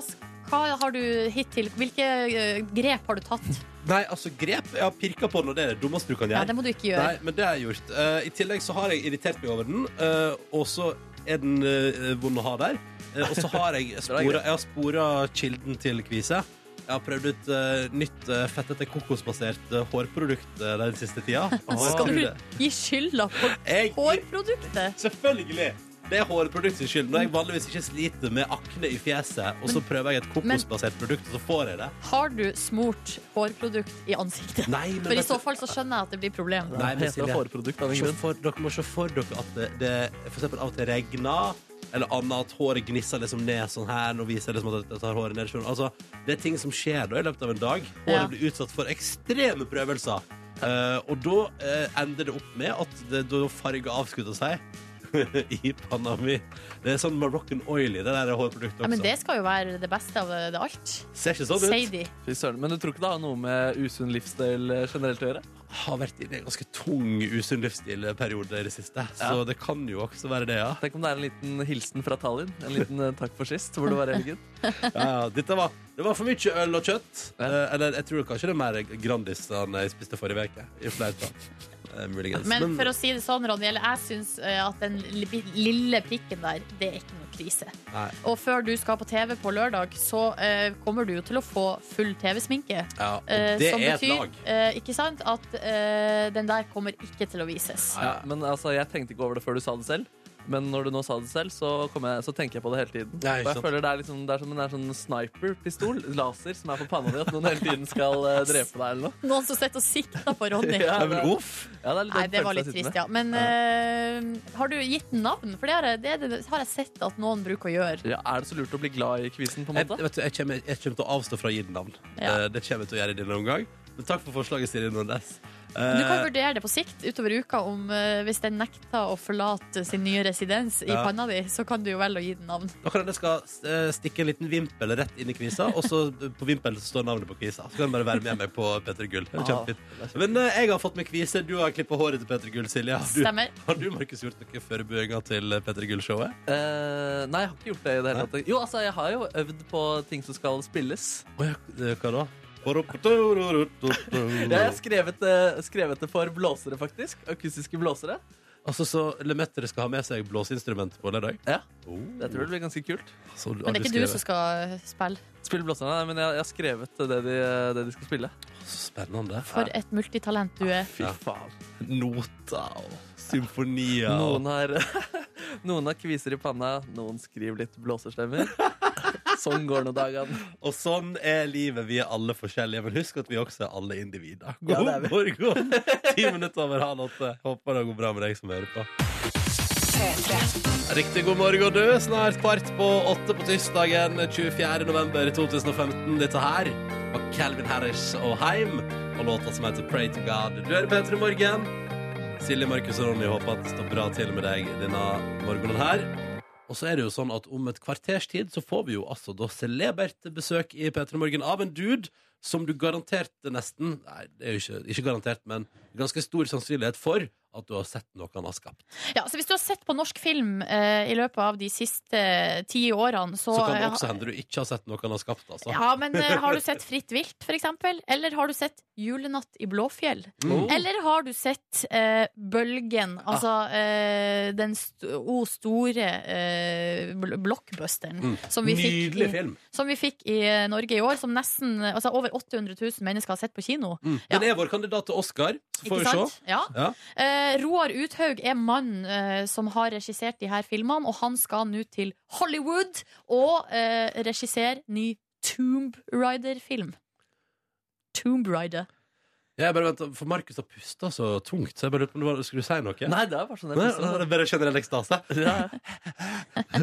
Speaker 3: hva har du hittil Hvilke eh, grep har du tatt?
Speaker 2: Nei, altså, grep Jeg har pirka på den, og det er det dummeste du kan
Speaker 3: Ja,
Speaker 2: gjøre.
Speaker 3: det må du ikke gjøre.
Speaker 2: Nei, men det har jeg gjort. Eh, I tillegg så har jeg irritert meg over den, eh, og så er den eh, vond å ha der. Eh, og så har jeg spora, jeg har spora kilden til kvise. Jeg har prøvd ut eh, nytt eh, fettete kokosbasert eh, hårprodukt eh, den siste tida. Og
Speaker 3: Skal
Speaker 2: jeg
Speaker 3: du
Speaker 2: tror det.
Speaker 3: gi skylda på
Speaker 2: Jeg-
Speaker 3: hårproduktet?
Speaker 2: Selvfølgelig! Det er hårproduktets skyld. Når jeg vanligvis ikke sliter med akne i fjeset, og så prøver jeg et kokosbasert produkt, og så får jeg det.
Speaker 3: Har du smurt hårprodukt i ansiktet?
Speaker 2: Nei, men
Speaker 3: For i
Speaker 2: vet du-
Speaker 3: så fall så skjønner jeg at det blir problem.
Speaker 2: Nei, men
Speaker 1: det heter
Speaker 2: Silje.
Speaker 1: hårprodukt av en
Speaker 2: Se
Speaker 1: grunn.
Speaker 2: for, dere må se for dere at det, det for eksempel av og til regner, eller annet at håret gnisser liksom ned sånn her. Nå viser jeg liksom at jeg tar håret ned. skjønner du? Altså, det er ting som skjer da i løpet av en dag. Håret
Speaker 3: Ja.
Speaker 2: blir utsatt for ekstreme prøvelser. Eh, og da eh, ender det opp med at det, da farger avskutter seg i panna mi. Det er sånn Moroccan oily, det der hårproduktet også.
Speaker 3: Ja, men det skal jo være det beste av eh, det alt.
Speaker 2: Ser ikke sånn ut.
Speaker 3: Sier de.
Speaker 1: Fy søren. Men du tror ikke det har noe med usunn livsstil eh, generelt å gjøre?
Speaker 2: har vært inne i en ganske tung usunn livsstilperiode i det siste. Så det kan jo også være det, ja.
Speaker 1: Tenk om det er en liten hilsen fra Tallinn. En liten eh, takk for sist, hvor du var i helgen.
Speaker 2: ja, ja. Dette var, det var for mye øl og kjøtt. Eh, eller jeg tror kanskje det er mer Grandis enn jeg spiste forrige uke. I flertall. Eh, muligens.
Speaker 3: Men for å si det sånn, Ronny, eller jeg syns eh, at den li- lille prikken der, det er ikke noe krise.
Speaker 2: Nei.
Speaker 3: Og før du skal på TV på lørdag, så eh, kommer du jo til å få full TV-sminke.
Speaker 2: ja, og
Speaker 3: Eh,
Speaker 2: det
Speaker 3: som
Speaker 2: er et
Speaker 3: betyr,
Speaker 2: lag.
Speaker 3: eh, ikke sant, at eh, den der kommer ikke til å vises.
Speaker 1: Ja, men altså, jeg tenkte ikke over det før du sa det selv. Men når du nå sa det selv, så, kom jeg, så tenker jeg på det hele
Speaker 2: Ja,
Speaker 1: tiden.
Speaker 2: ikke
Speaker 1: og jeg
Speaker 2: sant.
Speaker 1: føler det er, liksom, det er som en det er sånn sniperpistol, laser, som er på panna di, at noen hele tiden skal eh, drepe deg eller noe.
Speaker 3: Noen som sitter og sikter på Ronny.
Speaker 1: Ja,
Speaker 2: Ja,
Speaker 1: det-
Speaker 2: men uff.
Speaker 1: Ja, det er litt
Speaker 3: Nei,
Speaker 1: den
Speaker 3: det var
Speaker 1: følelsen
Speaker 3: litt
Speaker 1: jeg sitter
Speaker 3: trist, ja.
Speaker 1: med.
Speaker 3: Men eh, har du gitt navn? For det har, jeg- det, er det har jeg sett at noen bruker å gjøre.
Speaker 1: Ja, er det så lurt å bli glad i kvisen, på en
Speaker 2: Jeg,
Speaker 1: måte?
Speaker 2: vet du, jeg, kommer, jeg kommer til å avstå fra å gi den navn.
Speaker 3: Ja.
Speaker 2: Eh, Det kommer jeg til å gjøre i denne omgang. Men takk for forslaget, Siri Nordnes.
Speaker 3: Du kan
Speaker 2: Eh,
Speaker 3: vurdere det på sikt utover uka om eh, hvis den nekter å forlate sin nye residens i
Speaker 2: Ja.
Speaker 3: panna di, så kan du jo velge å gi den navn.
Speaker 2: Da kan jeg skal eh, stikke en liten vimpel rett inn i kvisa, og så på vimpelen så står navnet på kvisa. Så kan du bare være med meg på Peter Gull. Det er kjempefint. Men eh, jeg har fått meg kvise. Du har klippa håret til Peter Gull, Silje. Har du,
Speaker 3: Stemmer.
Speaker 2: har du Markus, gjort noen forberedelser til Peter Gull-showet?
Speaker 1: Eh, nei, jeg har ikke gjort det i det hele tatt. Jo, altså, jeg har jo øvd på ting som skal spilles.
Speaker 2: Å ja, eh, hva da?
Speaker 1: Jeg har skrevet, eh, skrevet det for blåsere, faktisk. Akustiske blåsere.
Speaker 2: Altså, så Lemaitre skal ha med seg blåseinstrument på lørdag?
Speaker 1: Ja.
Speaker 2: Oh.
Speaker 1: Jeg tror det blir ganske kult.
Speaker 2: Så har
Speaker 3: Men det er ikke du
Speaker 2: skrevet-
Speaker 3: som skal eh, spille.
Speaker 1: Spille blåserne, nei, men jeg, jeg har skrevet det de, det de skal spille.
Speaker 2: Så spennende. Eh,
Speaker 3: For et multitalent du er.
Speaker 1: Fy faen.
Speaker 2: Noter og symfonier. og-
Speaker 1: Noen har, noen har kviser i panna, noen skriver litt blåserstemmer. Sånn går nå dagene.
Speaker 2: Og sånn er livet. Vi er alle forskjellige, men husk at vi også er alle individer.
Speaker 1: Ja,
Speaker 2: God
Speaker 1: det er vi.
Speaker 2: morgen! Ti minutter over halv åtte. Håper det går bra med deg som hører på. Riktig god morgen, du. Snart kvart på åtte på tirsdagen 24. november 2015. Dette her var Calvin Harris og Heim og låta som heter Pray to God. Du hører P3 Morgen. Silje, Markus og Ronny håper at det står bra til med deg denne morgenen her. Og så er det jo sånn at om et kvarters tid så får vi jo altså da celebert besøk i P3 Morgen av en dude som du garantert nesten Nei, det er jo ikke, ikke garantert, men ganske stor sannsynlighet for at du har sett noe han har skapt.
Speaker 3: Ja, så Hvis du har sett på norsk film eh, i løpet av de siste eh, ti årene, så,
Speaker 2: Så kan det
Speaker 3: eh,
Speaker 2: også hende du ikke har sett noe han har skapt, altså.
Speaker 3: Ja, men eh, har du sett Fritt vilt, for eksempel? Eller har du sett Julenatt i Blåfjell?
Speaker 2: Mm.
Speaker 3: Eller har du sett eh, Bølgen?
Speaker 2: Ah.
Speaker 3: Altså eh, den st o store eh, bl- blockbusteren
Speaker 2: Mm.
Speaker 3: som, vi fikk
Speaker 2: Nydelig
Speaker 3: i,
Speaker 2: film.
Speaker 3: som vi fikk i eh, Norge i år. Som nesten eh, altså, over 800 000 mennesker har sett på kino.
Speaker 2: Mm. Den er vår kandidat til Oscar, så får
Speaker 3: Ikke
Speaker 2: vi se.
Speaker 3: sant? Ja.
Speaker 2: Ja.
Speaker 3: Eh, Roar Uthaug er mannen eh, som har regissert de her filmene, og han skal nå til Hollywood og eh, regissere ny Tomb Rider-film. Tomb Rider.
Speaker 2: Jeg bare venter, for Markus har pusta så tungt, så jeg bare lurte på om det var- skulle du si noe?
Speaker 1: Nei, det er bare sånn
Speaker 2: Nei, nei, det
Speaker 1: det
Speaker 2: er bare generell ekstase.
Speaker 1: blir. Ja.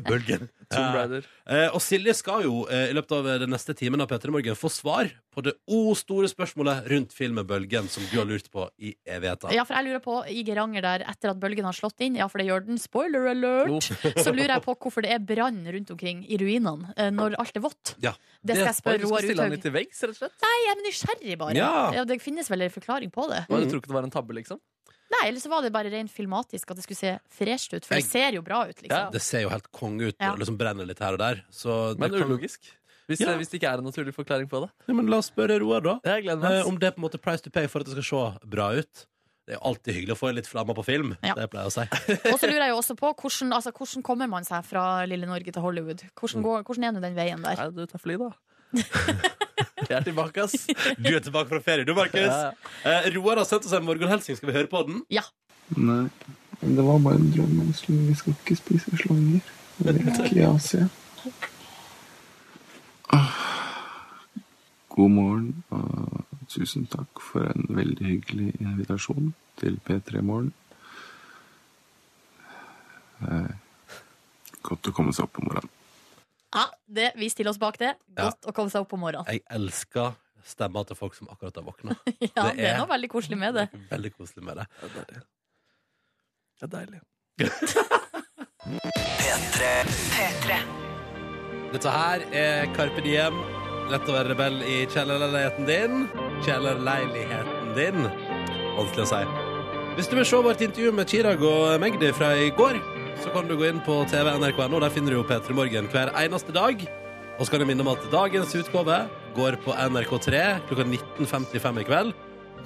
Speaker 2: Bølgen.
Speaker 1: Tomb Raider.
Speaker 2: Eh, og Silje skal jo eh, i løpet av den neste timen av Peter i Morgen få svar på det o store spørsmålet rundt filmen Bølgen, som du har lurt på i evigheter.
Speaker 3: Ja, for jeg lurer på, i Geranger der, etter at bølgen har slått inn, ja, for det gjør den, spoiler alert, så lurer jeg på hvorfor det er brann rundt omkring i ruinene eh, når alt er vått.
Speaker 2: Ja.
Speaker 3: Det skal jeg
Speaker 1: Oi,
Speaker 3: spørre
Speaker 1: du
Speaker 3: Roar
Speaker 1: skulle stille han
Speaker 3: Uthaug.
Speaker 1: litt til veggs, rett og slett?
Speaker 3: Nei, jeg er nysgjerrig bare.
Speaker 2: Ja.
Speaker 3: Ja, det finnes vel en forklaring på det.
Speaker 1: Og du tror ikke det var en tabbe, liksom?
Speaker 3: Nei, eller så var det bare rent filmatisk at det skulle se fresht ut, for det
Speaker 2: Jeg-
Speaker 3: ser jo bra ut, liksom.
Speaker 1: Ja.
Speaker 2: Det ser jo helt konge ut,
Speaker 3: Ja.
Speaker 2: og liksom brenner litt her og der. Så
Speaker 1: Men
Speaker 2: det kan-
Speaker 1: ulogisk. Hvis,
Speaker 2: Ja.
Speaker 1: hvis det ikke er en naturlig forklaring på det.
Speaker 2: Ja, men la oss spørre Roar, da.
Speaker 1: Jeg gleder meg.
Speaker 2: Eh,
Speaker 1: ass.
Speaker 2: om det er på en måte price to pay for at det skal se bra ut. Det er jo alltid hyggelig å få litt flammer på film.
Speaker 3: Ja.
Speaker 2: Det pleier jeg å si.
Speaker 3: Og så lurer jeg jo også på hvordan, altså, hvordan kommer man seg fra lille Norge til Hollywood? Hvordan,
Speaker 2: Mm.
Speaker 3: går, hvordan er nå den veien der?
Speaker 1: Nei, du tar fly, da. Jeg er tilbake, ass.
Speaker 2: Du er tilbake fra ferie, du, Markus.
Speaker 1: Ja.
Speaker 2: Eh, Roar har sendt oss en morgenhelsing. Skal vi høre på den?
Speaker 3: Ja.
Speaker 7: Nei, det var bare en drøm om slanger. Vi skal ikke spise slanger. Vi er ikke i Asia. Ah, God morgen, og tusen takk for en veldig hyggelig invitasjon til P3 Morgen. Eh, Godt å komme seg opp om morgenen.
Speaker 3: Ja, det, vi stiller oss bak det.
Speaker 2: Ja.
Speaker 3: Godt å komme seg opp om morgenen.
Speaker 2: Jeg elsker stemmer til folk som akkurat har våkna.
Speaker 3: Ja,
Speaker 2: det
Speaker 3: det er
Speaker 2: er-
Speaker 3: noe veldig koselig med det.
Speaker 2: Veldig koselig med det.
Speaker 1: Det er deilig. Det er deilig.
Speaker 2: Dette her er Carpe Diem. Lett å være rebell i kjellerleiligheten din. Kjellerleiligheten din. Vanskelig å si. Hvis du vil se vårt intervju med Chirag og Magdi fra i går, så kan du gå inn på TV nrk.no. Der finner du jo P3 Morgen hver eneste dag. Og så kan jeg minne om at dagens utgave går på NRK3 klokka 19.55 i kveld.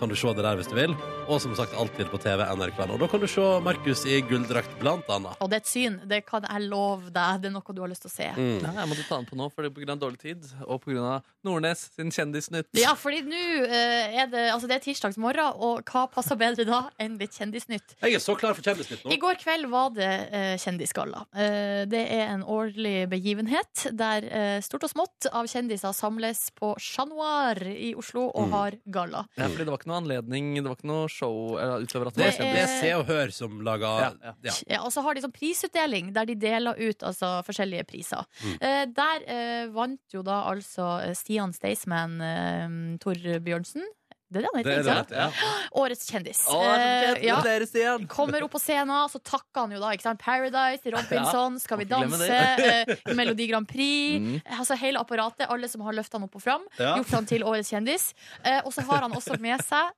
Speaker 2: Kan du se det der hvis du vil. Og som sagt alltid på TV nrk.no. Da kan du se Markus i gulldrakt, blant annet.
Speaker 3: Og det er et syn. Det kan jeg love deg. Det er noe du har lyst til å se.
Speaker 2: Mm.
Speaker 1: Nei, jeg måtte ta den på nå, for det er på grunn av dårlig tid. Og på grunn av Nordnes sin Kjendisnytt.
Speaker 3: Ja, fordi nå eh, er det Altså, det er tirsdags morgen, og hva passer bedre da enn litt Kjendisnytt?
Speaker 2: Jeg er så klar for Kjendisnytt
Speaker 3: I
Speaker 2: nå.
Speaker 3: går kveld var det eh, Kjendisgalla. Eh, det er en årlig begivenhet der eh, stort og smått av kjendiser samles på Chat Noir i Oslo og
Speaker 2: Mm.
Speaker 3: har galla.
Speaker 1: Ja, fordi det var ikke noe anledning, det var ikke noe show eller, utover at det
Speaker 2: Det
Speaker 1: var
Speaker 3: er-
Speaker 1: kjendis.
Speaker 2: det er Se og Hør som lager
Speaker 1: Ja, ja.
Speaker 2: Ja.
Speaker 3: Ja, og så har de sånn prisutdeling der de deler ut altså, forskjellige priser.
Speaker 1: Mm.
Speaker 3: Eh, der eh, vant jo da altså eh, Stian Staysman eh, Tor Bjørnsen. Det er det han
Speaker 2: Det
Speaker 3: heter,
Speaker 2: er det,
Speaker 3: ikke sant?
Speaker 2: ja.
Speaker 3: Årets kjendis.
Speaker 1: Å, det er så
Speaker 3: Eh,
Speaker 1: kjedelig.
Speaker 3: ja.
Speaker 1: Dere, Stian.
Speaker 3: Kommer opp på scenen, så takker han jo da. Ikke sant? Paradise, Robinson, Skal vi
Speaker 1: må ikke glemme Mm.
Speaker 3: danse, eh, Melodi Grand Prix. Altså Hele apparatet, alle som har løfta han opp og fram.
Speaker 2: Ja.
Speaker 3: Gjort han til årets kjendis. Eh, og så har han også med seg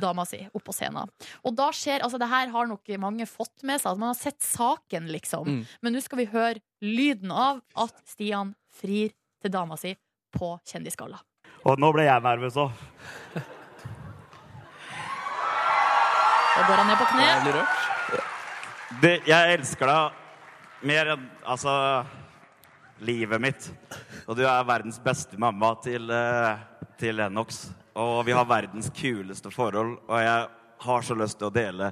Speaker 3: dama si opp på scenen. Og da skjer, altså det her har nok mange fått med seg. Altså, man har sett saken, liksom.
Speaker 1: Mm.
Speaker 3: Men nå skal vi høre lyden av at Stian frir til dama si på Kjendisgalla.
Speaker 8: Og nå ble jeg nervøs òg.
Speaker 3: Da går han ned på kne.
Speaker 1: Jeg blir rørt.
Speaker 8: Jeg elsker deg mer enn altså livet mitt. Og du er verdens beste mamma til, eh, til Lennox. Og vi har verdens kuleste forhold, og jeg har så lyst til å dele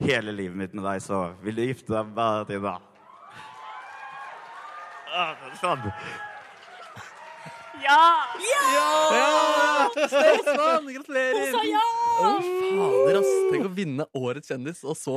Speaker 8: hele livet mitt med deg, så vil du gifte deg med meg, Tina? Ah, Sånn.
Speaker 1: Staysman, Sånn, gratulerer! Hun sa ja! fader, ass. Tenk å vinne Årets kjendis, og så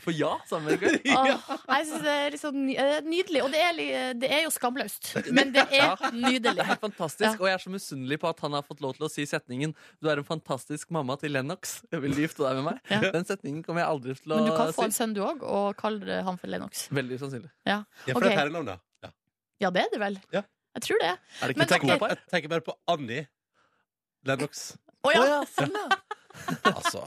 Speaker 1: få ja samme kveld.
Speaker 3: Åh, jeg synes det er litt sånn ny- eh, nydelig. Og det er, li- det er jo skamløst, men det er
Speaker 1: Det er
Speaker 3: nydelig.
Speaker 1: helt fantastisk,
Speaker 3: Ja.
Speaker 1: og jeg er så misunnelig på at han har fått lov til å si setningen 'Du er en fantastisk mamma til Lennox. Jeg vil gifte deg med meg.'
Speaker 3: Ja.
Speaker 1: Den setningen kommer jeg aldri til å
Speaker 3: Men du kan få en
Speaker 1: si.
Speaker 3: sønn du òg, og kalle han for Lennox.
Speaker 1: Veldig sannsynlig.
Speaker 2: Ja, for
Speaker 3: Ok.
Speaker 2: det er et herrenavn, da. Ja.
Speaker 3: Ja, det er det vel?
Speaker 2: Ja.
Speaker 3: Jeg tror det.
Speaker 1: Er
Speaker 3: Men
Speaker 1: det ikke
Speaker 2: Jeg tenker,
Speaker 1: Teknopar?
Speaker 2: bare, jeg tenker bare på Annie Lennox.
Speaker 3: Å
Speaker 1: Å
Speaker 3: ja!
Speaker 1: ja, sånn, ja.
Speaker 2: Altså.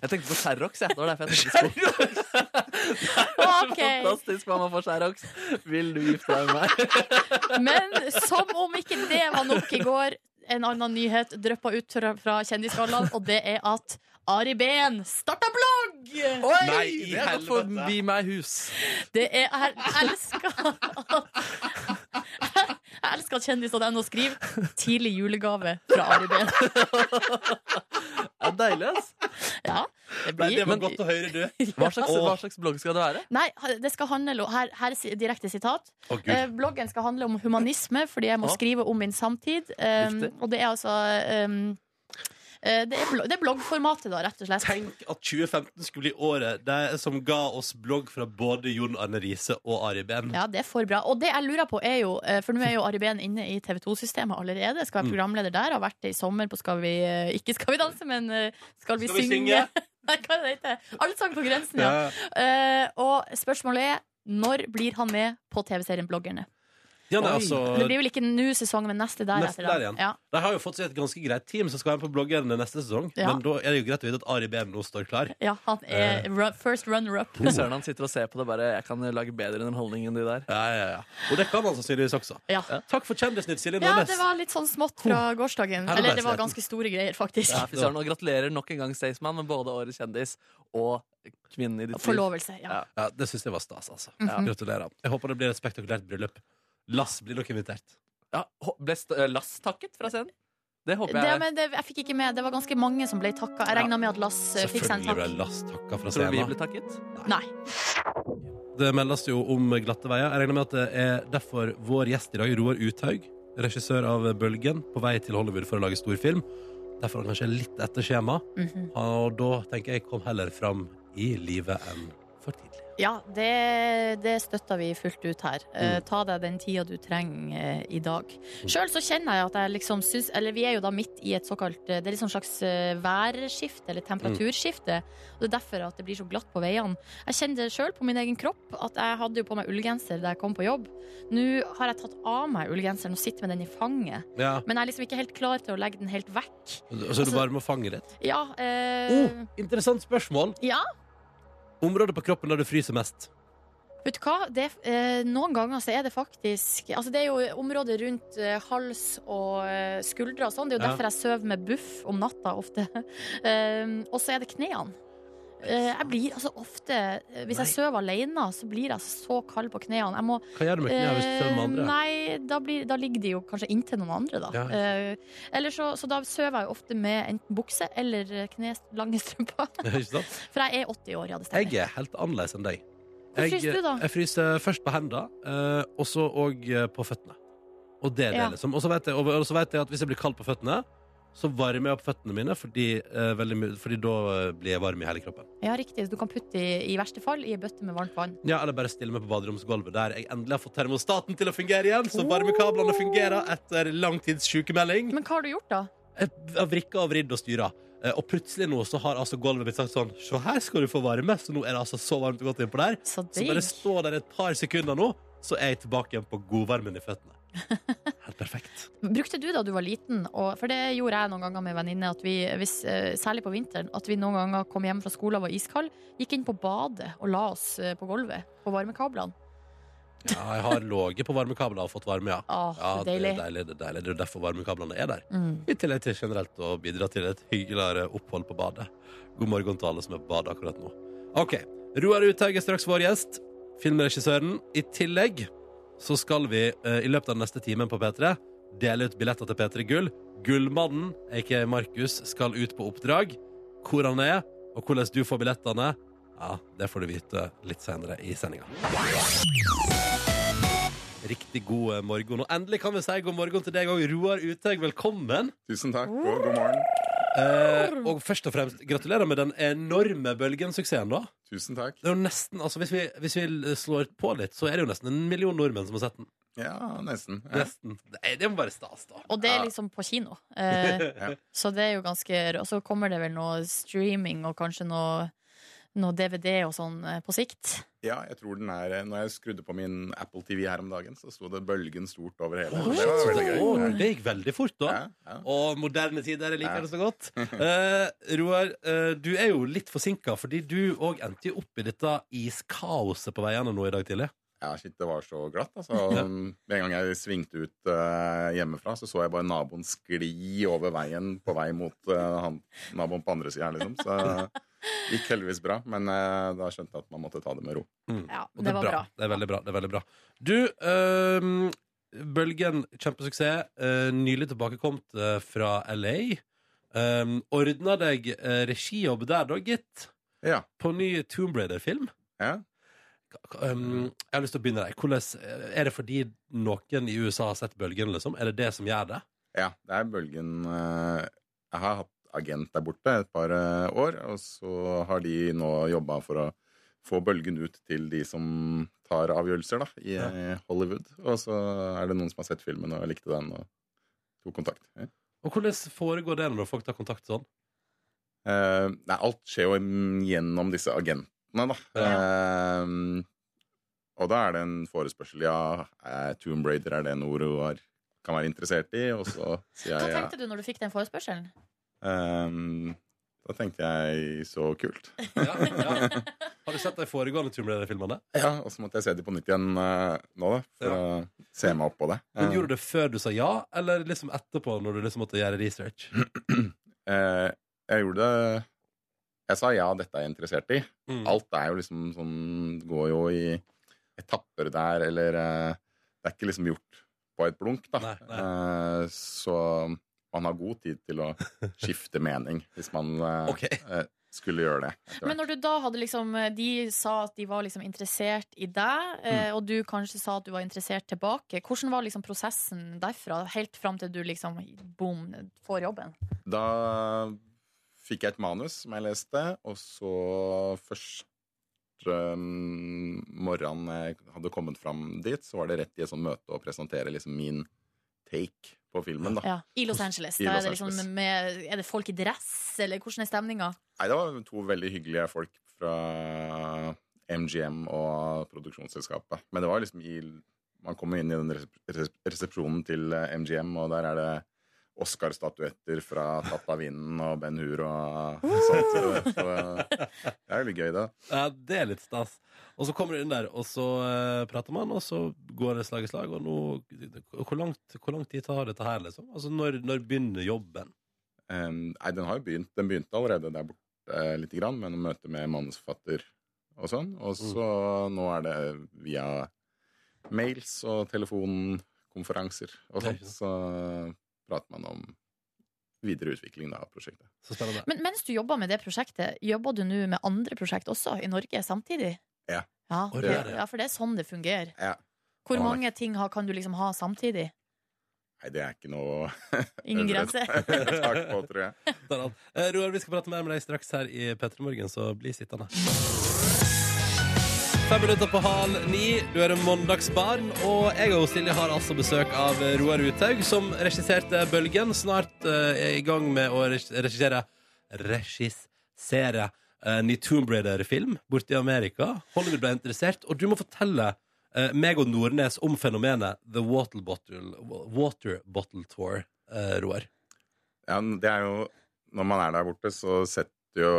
Speaker 1: Jeg tenkte på Sherrox. jeg. Det var derfor jeg tenkte på
Speaker 3: Ok.
Speaker 1: Fantastisk mamma for Sherrox. Vil du gifte deg med meg?
Speaker 3: Men som om ikke det var nok i går, en annen nyhet dryppa ut fra fra Kjendisgallaen, og det er at Ari Behn starta blogg!
Speaker 1: Oi,
Speaker 2: Nei, i
Speaker 1: det er gått
Speaker 2: helvete.
Speaker 1: forbi meg hus.
Speaker 3: Det er Jeg elsker at Jeg elsker at kjendis.no skriver 'Tidlig julegave fra Ari Behn'.
Speaker 1: Det er deilig, ass.
Speaker 3: Ja,
Speaker 2: Nei,
Speaker 3: det blir
Speaker 2: det var
Speaker 1: Men-
Speaker 2: godt å høre, du.
Speaker 1: Hva slags, hva slags blogg skal det være?
Speaker 3: Nei, det skal handle om Her, her er si- direkte sitat.
Speaker 2: Å, Gud.
Speaker 3: Eh, bloggen skal handle om humanisme, fordi jeg må
Speaker 1: Ja.
Speaker 3: skrive om min samtid. Um,
Speaker 1: Riktig.
Speaker 3: og det er altså um, eh, det, er blog, det er bloggformatet, da, rett og slett.
Speaker 2: Tenk at 2015 skulle bli året det som ga oss blogg fra både Jon Arne Riise og Ari Behn.
Speaker 3: Ja, det er for bra. Og det jeg lurer på er jo, eh, for nå er jo Ari Behn inne i TV 2-systemet allerede.
Speaker 2: Mm.
Speaker 3: Skal være programleder der. Har vært det i sommer på Skal vi eh, Ikke Skal vi danse, men eh, Skal vi
Speaker 2: Skal vi
Speaker 3: synge?
Speaker 2: synge?
Speaker 3: Nei, hva er det det heter? Allsang på grensen, ja.
Speaker 2: Ja.
Speaker 3: Eh, og spørsmålet er når blir han med på TV-serien Bloggerne?
Speaker 2: Ja, nei,
Speaker 1: Oi.
Speaker 2: altså,
Speaker 3: Men det blir vel ikke nå sesong, men neste der.
Speaker 2: Neste
Speaker 3: etter da.
Speaker 2: der igjen.
Speaker 3: Ja.
Speaker 2: de har jo fått seg et ganske greit team som skal være med på bloggerne neste sesong.
Speaker 3: Ja.
Speaker 2: Men da er det jo greit å vite at Ari Behn nå står klar.
Speaker 3: Ja, han
Speaker 2: Eh.
Speaker 3: er ru- first runner-up.
Speaker 1: Fy Søren han sitter og ser på det bare. Jeg kan lage bedre underholdning enn de der.
Speaker 2: Ja, ja, ja. Og det kan han sannsynligvis også.
Speaker 3: Ja.
Speaker 2: Takk for Kjendisnytt, Silje
Speaker 3: ja,
Speaker 2: Nordnes.
Speaker 3: det var litt sånn smått fra gårsdagen.
Speaker 2: Her er
Speaker 3: Eller det var
Speaker 2: verden.
Speaker 3: ganske store greier, faktisk.
Speaker 1: Ja, fy søren, og Gratulerer nok en gang, Staysman, med både Årets kjendis og kvinnen i ditt liv.
Speaker 3: Forlovelse. Ja.
Speaker 1: Ja.
Speaker 2: Ja, det syns jeg var stas, altså.
Speaker 3: Mhm.
Speaker 2: Gratulerer. Jeg håper det blir et spektakulært bryllup. Lass blir nok invitert.
Speaker 1: Ja, hå- ble st eh, Lass takket fra scenen? Det håper
Speaker 3: Det,
Speaker 1: jeg.
Speaker 3: men det, jeg fikk ikke med. Det var ganske mange som ble takka. Jeg regna med at Lass eh, fikk seg en
Speaker 2: Selvfølgelig ble
Speaker 3: takk.
Speaker 2: Lass takka fra
Speaker 1: Tror du vi
Speaker 2: scenen.
Speaker 1: ble takket?
Speaker 3: Nei.
Speaker 2: Det meldes jo om glatte veier. Jeg regner med at det er derfor vår gjest i dag, Roar Uthaug, regissør av Bølgen, på vei til Hollywood for å lage storfilm. Derfor er han kanskje litt etter skjema.
Speaker 3: Mhm.
Speaker 2: Og da tenker jeg kom heller fram i livet enn for tidlig.
Speaker 3: Ja, det, det støtter vi fullt ut her. Eh, ta deg den tida du trenger eh, i dag. Sjøl så kjenner jeg at jeg liksom syns Eller vi er jo da midt i et såkalt eh, Det er litt sånn slags eh, værskifte, eller temperaturskifte. Og det er derfor at det blir så glatt på veiene. Jeg kjenner det sjøl på min egen kropp at jeg hadde jo på meg ullgenser da jeg kom på jobb. Nå har jeg tatt av meg ullgenseren og sitter med den i fanget.
Speaker 2: Ja.
Speaker 3: Men jeg er liksom ikke helt klar til å legge den helt vekk.
Speaker 2: Og så er du varm og fanger ditt.
Speaker 3: Ja. Altså- eh,
Speaker 2: Oh, interessant spørsmål.
Speaker 3: ja.
Speaker 2: Området på kroppen der du fryser mest.
Speaker 3: Vet du hva? Det, eh, noen ganger så er det faktisk Altså Det er jo området rundt eh, hals og eh, skuldre og sånn. Det er jo
Speaker 2: Ja.
Speaker 3: derfor jeg sover med buff om natta ofte. um, og så er det knærne. Eh, jeg blir altså ofte eh, Hvis jeg sover alene, så blir jeg altså så kald på knærne. Jeg må
Speaker 2: Hva gjør du med knærne hvis du sover med
Speaker 3: Eh,
Speaker 2: andre?
Speaker 3: Nei, da, blir, da ligger de jo kanskje inntil noen andre, da.
Speaker 2: Ja, ikke sant.
Speaker 3: Eh, eller så, så da sover jeg jo ofte med enten bukse eller eh, knes, lange strømper.
Speaker 2: Ikke sant?
Speaker 3: For jeg er 80 år, ja, det stemmer.
Speaker 2: Jeg er helt annerledes enn deg.
Speaker 3: Hvor fryser du da?
Speaker 2: Jeg fryser først på hendene, eh, og så og eh, på føttene. Og det er det,
Speaker 3: Ja.
Speaker 2: liksom. Og så vet jeg, og, og så vet jeg at hvis jeg blir kald på føttene, så varmer jeg opp føttene mine, fordi, eh, veldig, mye- fordi da eh, blir jeg varm i hele kroppen.
Speaker 3: Ja, riktig. Du kan putte i, i verste fall i ei bøtte med varmt vann.
Speaker 2: Ja, Eller bare stille meg på baderomsgulvet, der jeg endelig har fått termostaten til å fungere igjen, så varmekablene fungerer etter lang tids sykemelding.
Speaker 3: Men hva har du gjort, da?
Speaker 2: Jeg har vrikka og vridd og styra. Eh, Og plutselig nå så har altså gulvet blitt sagt sånn Se her skal du få varme, så nå er det altså så varmt og godt innpå der.
Speaker 3: Så
Speaker 2: Så bare
Speaker 3: digg.
Speaker 2: stå der et par sekunder nå, så er jeg tilbake igjen på godvarmen i føttene. Helt perfekt.
Speaker 3: Brukte du da du var liten, og, for det gjorde jeg noen ganger med venninne, at vi, hvis, eh, særlig på vinteren, at vi noen ganger kom hjem fra skolen og var iskald, gikk inn på badet og la oss eh, på gulvet på varmekablene.
Speaker 2: Ja, jeg har ligget på varmekabler og fått varme, ja.
Speaker 3: Åh,
Speaker 2: Ja,
Speaker 3: så
Speaker 2: det er
Speaker 3: deilig.
Speaker 2: deilig. Det er deilig. Det er jo derfor varmekablene er der.
Speaker 3: Mm.
Speaker 2: I tillegg til generelt å bidra til et hyggeligere opphold på badet. God morgen til alle som er på badet akkurat nå. Ok, Roar Uthaug er straks vår gjest. Filmregissøren. I tillegg så skal vi eh, i løpet av den neste timen på P3 dele ut billetter til P3 Gull. Gullmannen, aka Markus, skal ut på oppdrag. Hvor han er, og hvordan du får billettene, ja, det får du vite litt senere i sendinga. Riktig god eh, morgen. Og endelig kan vi si god morgen til deg òg, Roar Uthaug. Velkommen.
Speaker 7: Tusen takk, og god morgen.
Speaker 2: Eh, og først og fremst gratulerer med den enorme bølgen-suksessen, da.
Speaker 7: Tusen takk.
Speaker 2: Det er jo nesten, altså hvis vi, hvis vi slår på litt, så er det jo nesten en million nordmenn som har sett den.
Speaker 7: Ja, nesten. Ja.
Speaker 2: Nesten. Nei, det må være stas, da.
Speaker 3: Og det er liksom på kino. Eh, Så det er jo ganske Og så kommer det vel noe streaming og kanskje noe, noe DVD og sånn eh, på sikt.
Speaker 7: ja, jeg tror den er Når jeg skrudde på min Apple TV her om dagen, så sto det bølgen stort over hele. Det var veldig gøy.
Speaker 2: Åh, det gikk veldig fort, da.
Speaker 7: Ja, ja.
Speaker 2: Og moderne tider, jeg liker det så godt. Eh, Roar, eh, du er jo litt forsinka, fordi du òg endte jo opp i dette iskaoset på veiene nå i dag tidlig.
Speaker 7: Ja, shit, det var så glatt, altså. Med en gang jeg svingte ut eh, hjemmefra, så så jeg bare naboen skli over veien på vei mot eh, han, naboen på andre sida, liksom. Så det gikk heldigvis bra, men eh, da skjønte jeg at man måtte ta det med ro.
Speaker 3: Ja,
Speaker 2: Og
Speaker 3: det var bra.
Speaker 2: Det er veldig bra. det er veldig bra Du, øhm, Bølgen, kjempesuksess. Uh, nylig tilbakekomt eh, fra LA. Um, Ordna deg eh, regijobb der, da, gitt.
Speaker 7: Ja.
Speaker 2: På ny Tomb Raider-film.
Speaker 7: ja.
Speaker 2: K- k- Um, jeg har lyst til å begynne der. Hvordan, eh, er det fordi noen i USA har sett bølgen? liksom? Er det det som gjør det?
Speaker 7: Ja, det er bølgen eh, Jeg har hatt agent der borte et par eh, år, og så har de nå jobba for å få bølgen ut til de som tar avgjørelser da, i eh, Hollywood. Og så er det noen som har sett filmen og likte den og tok kontakt. Ja.
Speaker 2: Og hvordan foregår det når folk tar kontakt sånn?
Speaker 7: Eh, nei, alt skjer jo mm, gjennom disse agentene, da. Eh, og da er det en forespørsel. Ja, eh, Tomb Raider, er det noe du har, kan være interessert i? Og så sier
Speaker 3: Hva
Speaker 7: jeg ja.
Speaker 3: tenkte du når du fikk den forespørselen?
Speaker 7: Ehm, da tenkte jeg så kult.
Speaker 2: Ja, ja. Har du sett de foregående Tomb Raider-filmene?
Speaker 7: Ja, Og så måtte jeg se de på nytt igjen eh, nå, da. For å se meg opp på det.
Speaker 2: Men Gjorde du det før du sa ja, eller liksom etterpå, når du liksom måtte gjøre research?
Speaker 7: Eh, jeg gjorde det Jeg sa ja, dette er jeg interessert i.
Speaker 2: Mm.
Speaker 7: Alt er jo liksom sånn Går jo i etapper der, eller eh, Det er ikke liksom gjort på et blunk, da.
Speaker 2: Nei,
Speaker 7: Eh, så man har god tid til å skifte mening hvis man eh,
Speaker 2: Ok.
Speaker 7: eh, skulle gjøre det. etter
Speaker 3: Men når du da hadde liksom De sa at de var liksom interessert i deg, eh,
Speaker 7: Mm.
Speaker 3: og du kanskje sa at du var interessert tilbake. Hvordan var liksom prosessen derfra, helt fram til du liksom boom, får jobben?
Speaker 7: Da fikk jeg et manus som jeg leste, og så første eh, morgenen jeg hadde kommet fram dit, så var det rett i et sånt møte å presentere liksom min take på filmen. da.
Speaker 3: Ja, I Los Angeles.
Speaker 7: I
Speaker 3: Da
Speaker 7: Los
Speaker 3: er, det liksom
Speaker 7: Angeles.
Speaker 3: med, er det folk i dress, eller hvordan er stemninga?
Speaker 7: Nei, det var to veldig hyggelige folk fra MGM og produksjonsselskapet. Men det var liksom i Man kommer inn i den resep- resep- resepsjonen til eh, MGM, og der er det Oscar-statuetter fra Tatt av vinden og Ben Hur og sånt. Så det- så det det er veldig gøy, det.
Speaker 2: Ja, det er litt stas. Og så kommer du inn der, og så eh, prater man, og så går det slag i slag. Og nå, hvor, langt, hvor lang tid tar dette her, liksom? Altså, når, når begynner jobben?
Speaker 7: Um, nei, den har jo begynt. Den begynte allerede der borte eh, lite grann, med noen møter med manusforfatter og sånn. Og så nå er det via mails og telefonkonferanser og
Speaker 2: Det er
Speaker 7: sånt, så prater man om videre utvikling da, av prosjektet.
Speaker 2: Så spennende.
Speaker 3: Men mens du jobber med det prosjektet, jobber du nå med andre prosjekt også i Norge samtidig?
Speaker 7: Ja.
Speaker 3: Ja,
Speaker 2: Å,
Speaker 3: det,
Speaker 2: det er det.
Speaker 3: ja for det er sånn det fungerer.
Speaker 7: Ja.
Speaker 3: Hvor
Speaker 7: Ja.
Speaker 3: mange ting har, kan du liksom ha samtidig?
Speaker 7: Nei, det er ikke noe
Speaker 3: Ingen
Speaker 7: øvre
Speaker 3: grenser.
Speaker 7: tak på, tror jeg.
Speaker 2: Det er alt. Eh, Roar, vi skal prate mer med deg straks her i P3 Morgen, så bli sittende. Fem minutter på halv ni, du er en mandagsbarn, og jeg og Silje har altså besøk av Roar Uthaug, som regisserte Bølgen, snart eh, er i gang med å reg- regissere regissere en ny Tomb Raider-film borte i Amerika. Hollywood ble interessert, og du må fortelle eh, meg og Nordnes om fenomenet The Water Bottle, Water Bottle Tour, eh, Roar.
Speaker 7: Ja, men det er jo, når man er der borte, så setter jo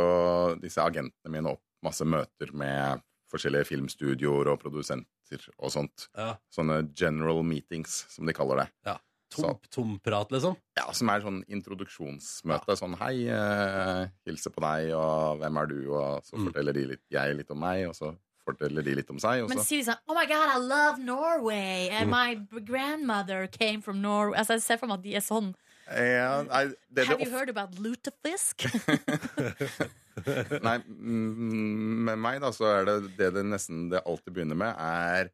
Speaker 7: disse agentene mine opp masse møter med forskjellige filmstudioer og produsenter og sånt.
Speaker 2: Ja.
Speaker 7: Sånne general meetings, som de kaller det.
Speaker 2: Tom, tom prat, liksom.
Speaker 7: Ja, Som er sånn introduksjonsmøte. Sånn hei, eh, hilse på deg, og hvem er du? Og så
Speaker 2: Mm.
Speaker 7: forteller de litt, jeg litt om meg, og så forteller de litt om seg. Og
Speaker 3: Men
Speaker 7: så,
Speaker 3: sier de sånn Oh my god, I love Norway!
Speaker 7: Mm.
Speaker 3: And my grandmother came from Norway. Altså, jeg ser for meg at de er sånn.
Speaker 7: ja, nei, det, det
Speaker 3: Have you
Speaker 7: ofte,
Speaker 3: heard about lutefisk?
Speaker 7: nei, mm, med meg, da, så er det det det nesten det alltid begynner med, er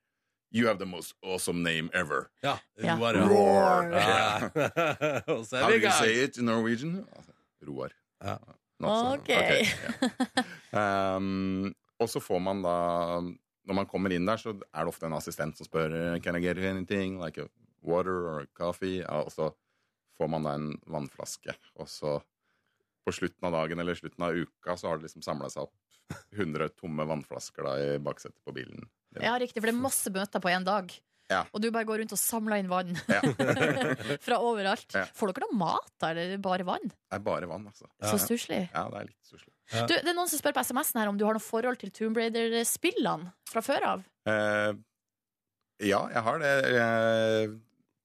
Speaker 7: You have the most awesome name ever.
Speaker 2: Ja.
Speaker 3: Ja.
Speaker 2: Roar, ja.
Speaker 7: Roar.
Speaker 2: Ja. Og så er
Speaker 7: How
Speaker 2: vi i
Speaker 7: do you
Speaker 2: gang.
Speaker 7: say it in Norwegian? Altså, Roar.
Speaker 2: Ja.
Speaker 7: Not so-
Speaker 3: Ok.
Speaker 7: ok, ja. um, og så får man da Når man kommer inn der, så er det ofte en assistent som spør Can I get you anything? Like a water or a coffee? Ja, og så får man da en vannflaske. Og så på slutten av dagen eller slutten av uka så har det liksom samla seg opp 100 tomme vannflasker da i baksetet på bilen.
Speaker 3: Ja, riktig, for det er masse møter på én dag.
Speaker 7: Ja.
Speaker 3: Og du bare går rundt og samler inn vann
Speaker 7: Ja.
Speaker 3: fra overalt.
Speaker 7: Ja.
Speaker 3: Får dere noe mat, da, eller er det bare vann?
Speaker 7: Det er bare vann, altså.
Speaker 3: Så stusslig.
Speaker 7: Ja, det er litt stusslig.
Speaker 2: Ja.
Speaker 3: Du, Det er noen som spør på SMS-en her om du har noe forhold til Tomb Raider-spillene fra før av.
Speaker 7: Eh, ja, jeg har det. Jeg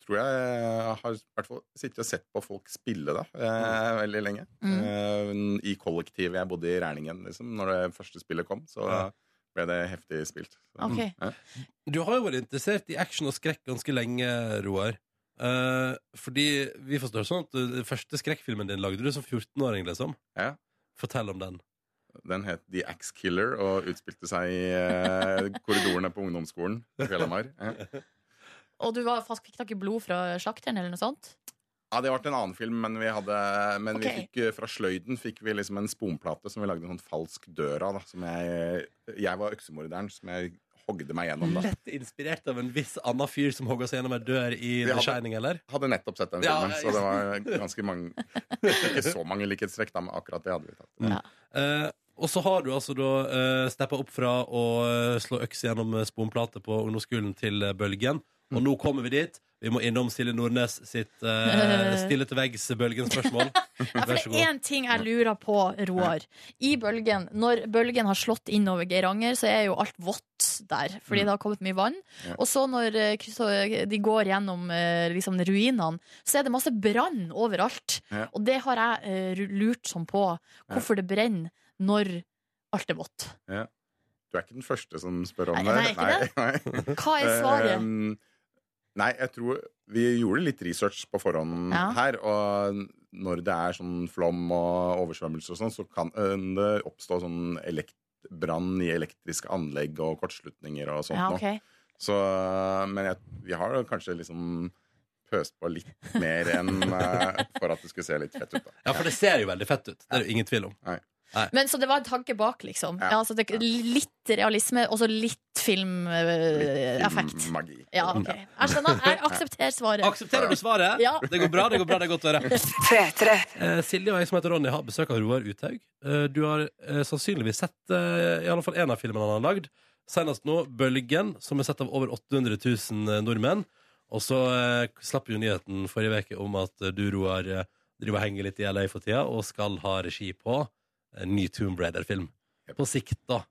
Speaker 7: tror jeg har i hvert fall sittet og sett på folk spille da, eh, veldig lenge.
Speaker 3: Mm.
Speaker 7: Eh, I kollektivet jeg bodde i Rælingen, liksom, når det første spillet kom, så
Speaker 2: Ja.
Speaker 7: ble det heftig spilt. Så,
Speaker 3: Ok.
Speaker 7: ja.
Speaker 2: Du har jo vært interessert i action og skrekk ganske lenge, Roar. Eh, fordi vi forstår sånn at du- den første skrekkfilmen din lagde du som 14-åring, liksom.
Speaker 7: Ja.
Speaker 2: Fortell om den.
Speaker 7: Den het The Axe Killer og utspilte seg i eh, korridorene på ungdomsskolen i Fjellamar. Ja.
Speaker 3: Og du var, fast- fikk da ikke blod fra slakteren, eller noe sånt?
Speaker 7: Ja, det ble en annen film, men vi hadde Men vi
Speaker 3: Ok.
Speaker 7: fikk eh, fra sløyden fikk vi liksom en sponplate som vi lagde en sånn falsk dør av. da, Som jeg, jeg var øksemorderen som jeg hogde meg gjennom. da
Speaker 2: Lett inspirert av en viss annen fyr som hogga seg gjennom ei dør i The
Speaker 7: hadde-
Speaker 2: Shining, eller?
Speaker 7: Hadde nettopp sett den
Speaker 2: Ja,
Speaker 7: filmen,
Speaker 2: ja,
Speaker 7: så det var ganske mange Ikke så mange likhetstrekk, da, men akkurat det hadde vi tatt.
Speaker 2: Eh, og så har du altså da uh, steppa opp fra å eh, slå øks gjennom eh, sponplate på ungdomsskolen til eh, Bølgen. Og nå kommer vi dit. Vi må innom Silje Nordnes sitt eh, stille til veggs-Bølgen-spørsmål.
Speaker 3: Ja, for
Speaker 2: Vær så
Speaker 3: det er
Speaker 2: god.
Speaker 3: én ting jeg lurer på, Roar. I bølgen, når bølgen har slått innover Geiranger, så er jo alt vått der, fordi det har kommet mye vann.
Speaker 7: Ja.
Speaker 3: Og så når eh, kryss- de går gjennom eh, liksom, ruinene, så er det masse brann overalt.
Speaker 7: Ja.
Speaker 3: Og det har jeg eh, ru- lurt sånn på. Hvorfor det brenner når alt er vått.
Speaker 7: Du er ikke den første som spør om
Speaker 3: Nei, nei,
Speaker 7: det.
Speaker 3: ikke
Speaker 7: nei.
Speaker 3: Hva er svaret?
Speaker 7: Um, nei, jeg tror Vi gjorde litt research på forhånd
Speaker 3: Ja.
Speaker 7: her, og når det er sånn flom og oversvømmelse og sånn, så kan eh, det oppstå sånn elekt brann i elektriske anlegg og kortslutninger og sånt
Speaker 3: Ja,
Speaker 7: nå.
Speaker 3: ok.
Speaker 7: Så, men jeg, vi har jo kanskje liksom pøst på litt mer enn eh, for at det skulle se litt fett ut. da.
Speaker 2: Ja, for det ser jo veldig fett ut. Det er det jo ingen tvil om.
Speaker 7: Nei.
Speaker 2: Nei.
Speaker 3: Men så det var en tanke bak, liksom.
Speaker 7: Ja.
Speaker 3: Ja, altså, det, litt realisme, og så litt eh, filmeffekt.
Speaker 7: Magi.
Speaker 3: Ja, OK. Jeg skjønner. Jeg aksepterer svaret.
Speaker 2: Aksepterer du svaret?
Speaker 3: Ja.
Speaker 2: Det går bra, det går bra, det er godt å høre. Eh, Silje og jeg som heter Ronny har besøk av Roar Uthaug. Eh, du har eh, sannsynligvis sett eh, i alle fall én av filmene han har lagd. Senest nå 'Bølgen', som er sett av over 800 000 nordmenn. Og så eh, slapp jo nyheten forrige uke om at eh, du, Roar, eh, driver og henger litt i LA for tida og skal ha regi på en ny Tomb Raider-film.
Speaker 7: Yep.
Speaker 2: På sikt, da.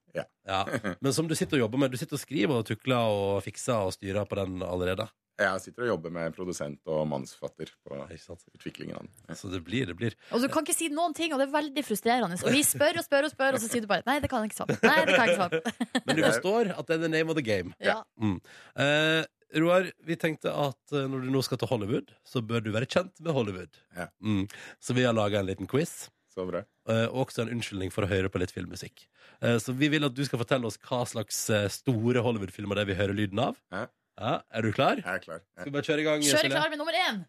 Speaker 7: Ja.
Speaker 2: Men som du sitter og jobber med. Du sitter og skriver og tukler og fikser og styrer på den allerede.
Speaker 7: Jeg sitter og jobber med produsent og manusforfatter på
Speaker 2: Ikke sant?
Speaker 7: utviklingen av den.
Speaker 2: Så det blir, det blir.
Speaker 3: Og du kan ikke si noen ting, og det er veldig frustrerende. Og vi spør og spør, og spør, og så sier du bare nei, det kan jeg ikke svare på. Nei, det kan jeg ikke svare på.
Speaker 2: Men du forstår at det er the name of the game.
Speaker 3: Ja.
Speaker 2: Eh, Roar, vi tenkte at eh, når du nå skal til Hollywood, så bør du være kjent med Hollywood.
Speaker 7: Ja.
Speaker 2: Mm. Så vi har laga en liten quiz,
Speaker 7: Så bra.
Speaker 2: eh, og også en unnskyldning for å høre på litt filmmusikk. Eh, så vi vil at du skal fortelle oss hva slags eh, store Hollywood-filmer det er vi hører lyden av.
Speaker 7: Ja.
Speaker 2: Ja, er du klar?
Speaker 7: Jeg er klar.
Speaker 2: Skal vi bare kjøre i gang?
Speaker 3: Kjør
Speaker 2: Silje?
Speaker 3: klar med nummer én.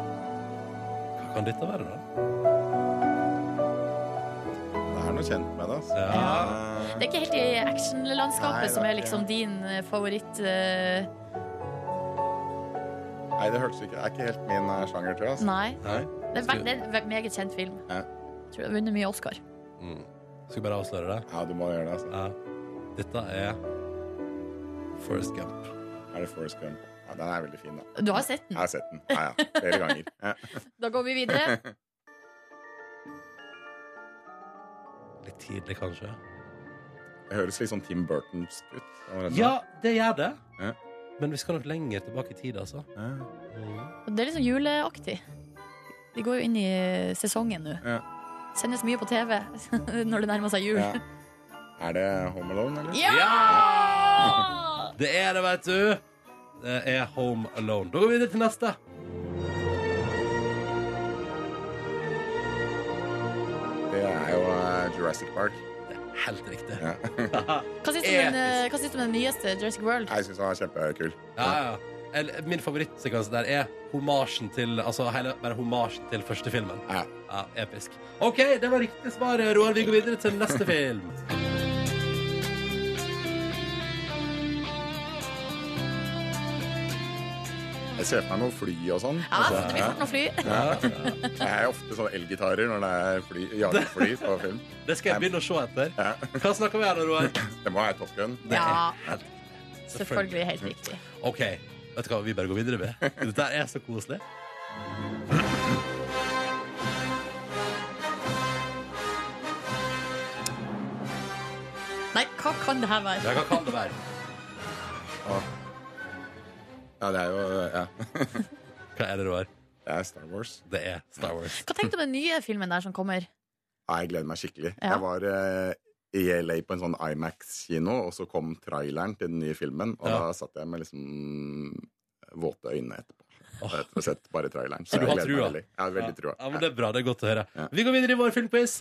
Speaker 2: Hva kan dette være, da?
Speaker 7: Det er noe kjent med det. Altså.
Speaker 2: Ja.
Speaker 3: Det er ikke helt i
Speaker 7: Nei, det
Speaker 3: actionlandskapet
Speaker 7: er
Speaker 3: som er
Speaker 7: ikke
Speaker 3: liksom din eh, favoritt. eh,
Speaker 7: Nei, det hørtes ikke Det er ikke helt min eh, sjanger, tror jeg. Altså.
Speaker 3: Nei.
Speaker 2: Nei.
Speaker 3: Det er, ve- det er en ve- meget kjent film.
Speaker 7: Ja.
Speaker 3: Jeg tror det har vunnet mye Oscar.
Speaker 2: Mm. Skal vi bare avsløre det?
Speaker 7: Ja, du må gjøre det. Altså.
Speaker 2: Ja. Dette er Forest Gump.
Speaker 7: Er det Forest Gump? Ja, den er veldig fin, da.
Speaker 3: Du har sett den.
Speaker 7: Jeg har sett den. Ja, ja. Flere ganger. Ja.
Speaker 3: Da går vi videre.
Speaker 2: Litt tidlig, kanskje.
Speaker 7: Det høres litt sånn Tim Burtonsk ut. kan man rett og slett.
Speaker 2: Ja, det gjør det.
Speaker 7: Ja.
Speaker 2: Men vi skal nok lenger tilbake i tid, altså.
Speaker 7: Ja.
Speaker 3: Og Det er litt sånn juleaktig. Vi går jo inn i eh, sesongen nå.
Speaker 7: Ja.
Speaker 3: Sendes mye på TV når det nærmer seg jul.
Speaker 7: Ja. Er det Home Alone, eller?
Speaker 3: Ja!
Speaker 2: Det er det, vet du. Det er Home Alone. Da går vi videre til neste.
Speaker 7: Det er jo eh, Jurassic Park.
Speaker 2: Helt riktig.
Speaker 7: Ja.
Speaker 3: Hva syns du om den, eh, hva syns du om den nyeste Jurassic World?
Speaker 7: Jeg syns den var kjempekul.
Speaker 2: Ja, ja. Eller, Min favorittsekvens der er homasjen til Altså hele, bare homasjen til første filmen.
Speaker 7: Ja.
Speaker 2: Ja, Episk. OK, det var riktig svar, Roar. Vi går videre til neste film.
Speaker 7: Jeg ser for meg noe fly og sånn.
Speaker 3: Ja,
Speaker 7: Altså,
Speaker 3: det blir fort noe fly.
Speaker 7: Jeg er ofte sånn elgitarer når det er fly, jagerfly på film.
Speaker 2: Det skal jeg begynne å se etter.
Speaker 7: Ja.
Speaker 2: Hva snakker vi om, Roar?
Speaker 7: Det må være Top Gun.
Speaker 2: er
Speaker 3: Ja,
Speaker 2: helt-
Speaker 3: selvfølgelig helt riktig.
Speaker 2: OK, vet du hva? Vi bare går videre med. Dette er så koselig.
Speaker 3: Nei, hva kan det her være?
Speaker 2: Ja, hva kan det være?
Speaker 7: Ja, det er jo ja.
Speaker 2: Hva er det, Roar?
Speaker 7: Det er Star Wars.
Speaker 2: Det er Star Wars.
Speaker 3: Hva tenkte du om den nye filmen der som kommer?
Speaker 7: Ja, jeg gleder meg skikkelig.
Speaker 3: Ja.
Speaker 7: Jeg var eh, i LA på en sånn Imax-kino, og så kom traileren til den nye filmen, og
Speaker 2: Ja.
Speaker 7: da satt jeg med liksom våte øyne etterpå.
Speaker 2: Åh.
Speaker 7: Etter å ha sett bare traileren.
Speaker 2: Så du
Speaker 7: jeg
Speaker 2: har
Speaker 7: gleder meg
Speaker 2: trua?
Speaker 7: veldig. Jeg har veldig trua.
Speaker 2: Ja, men det er bra. Det er godt å høre.
Speaker 7: Ja.
Speaker 2: Vi går videre i vår filmquiz.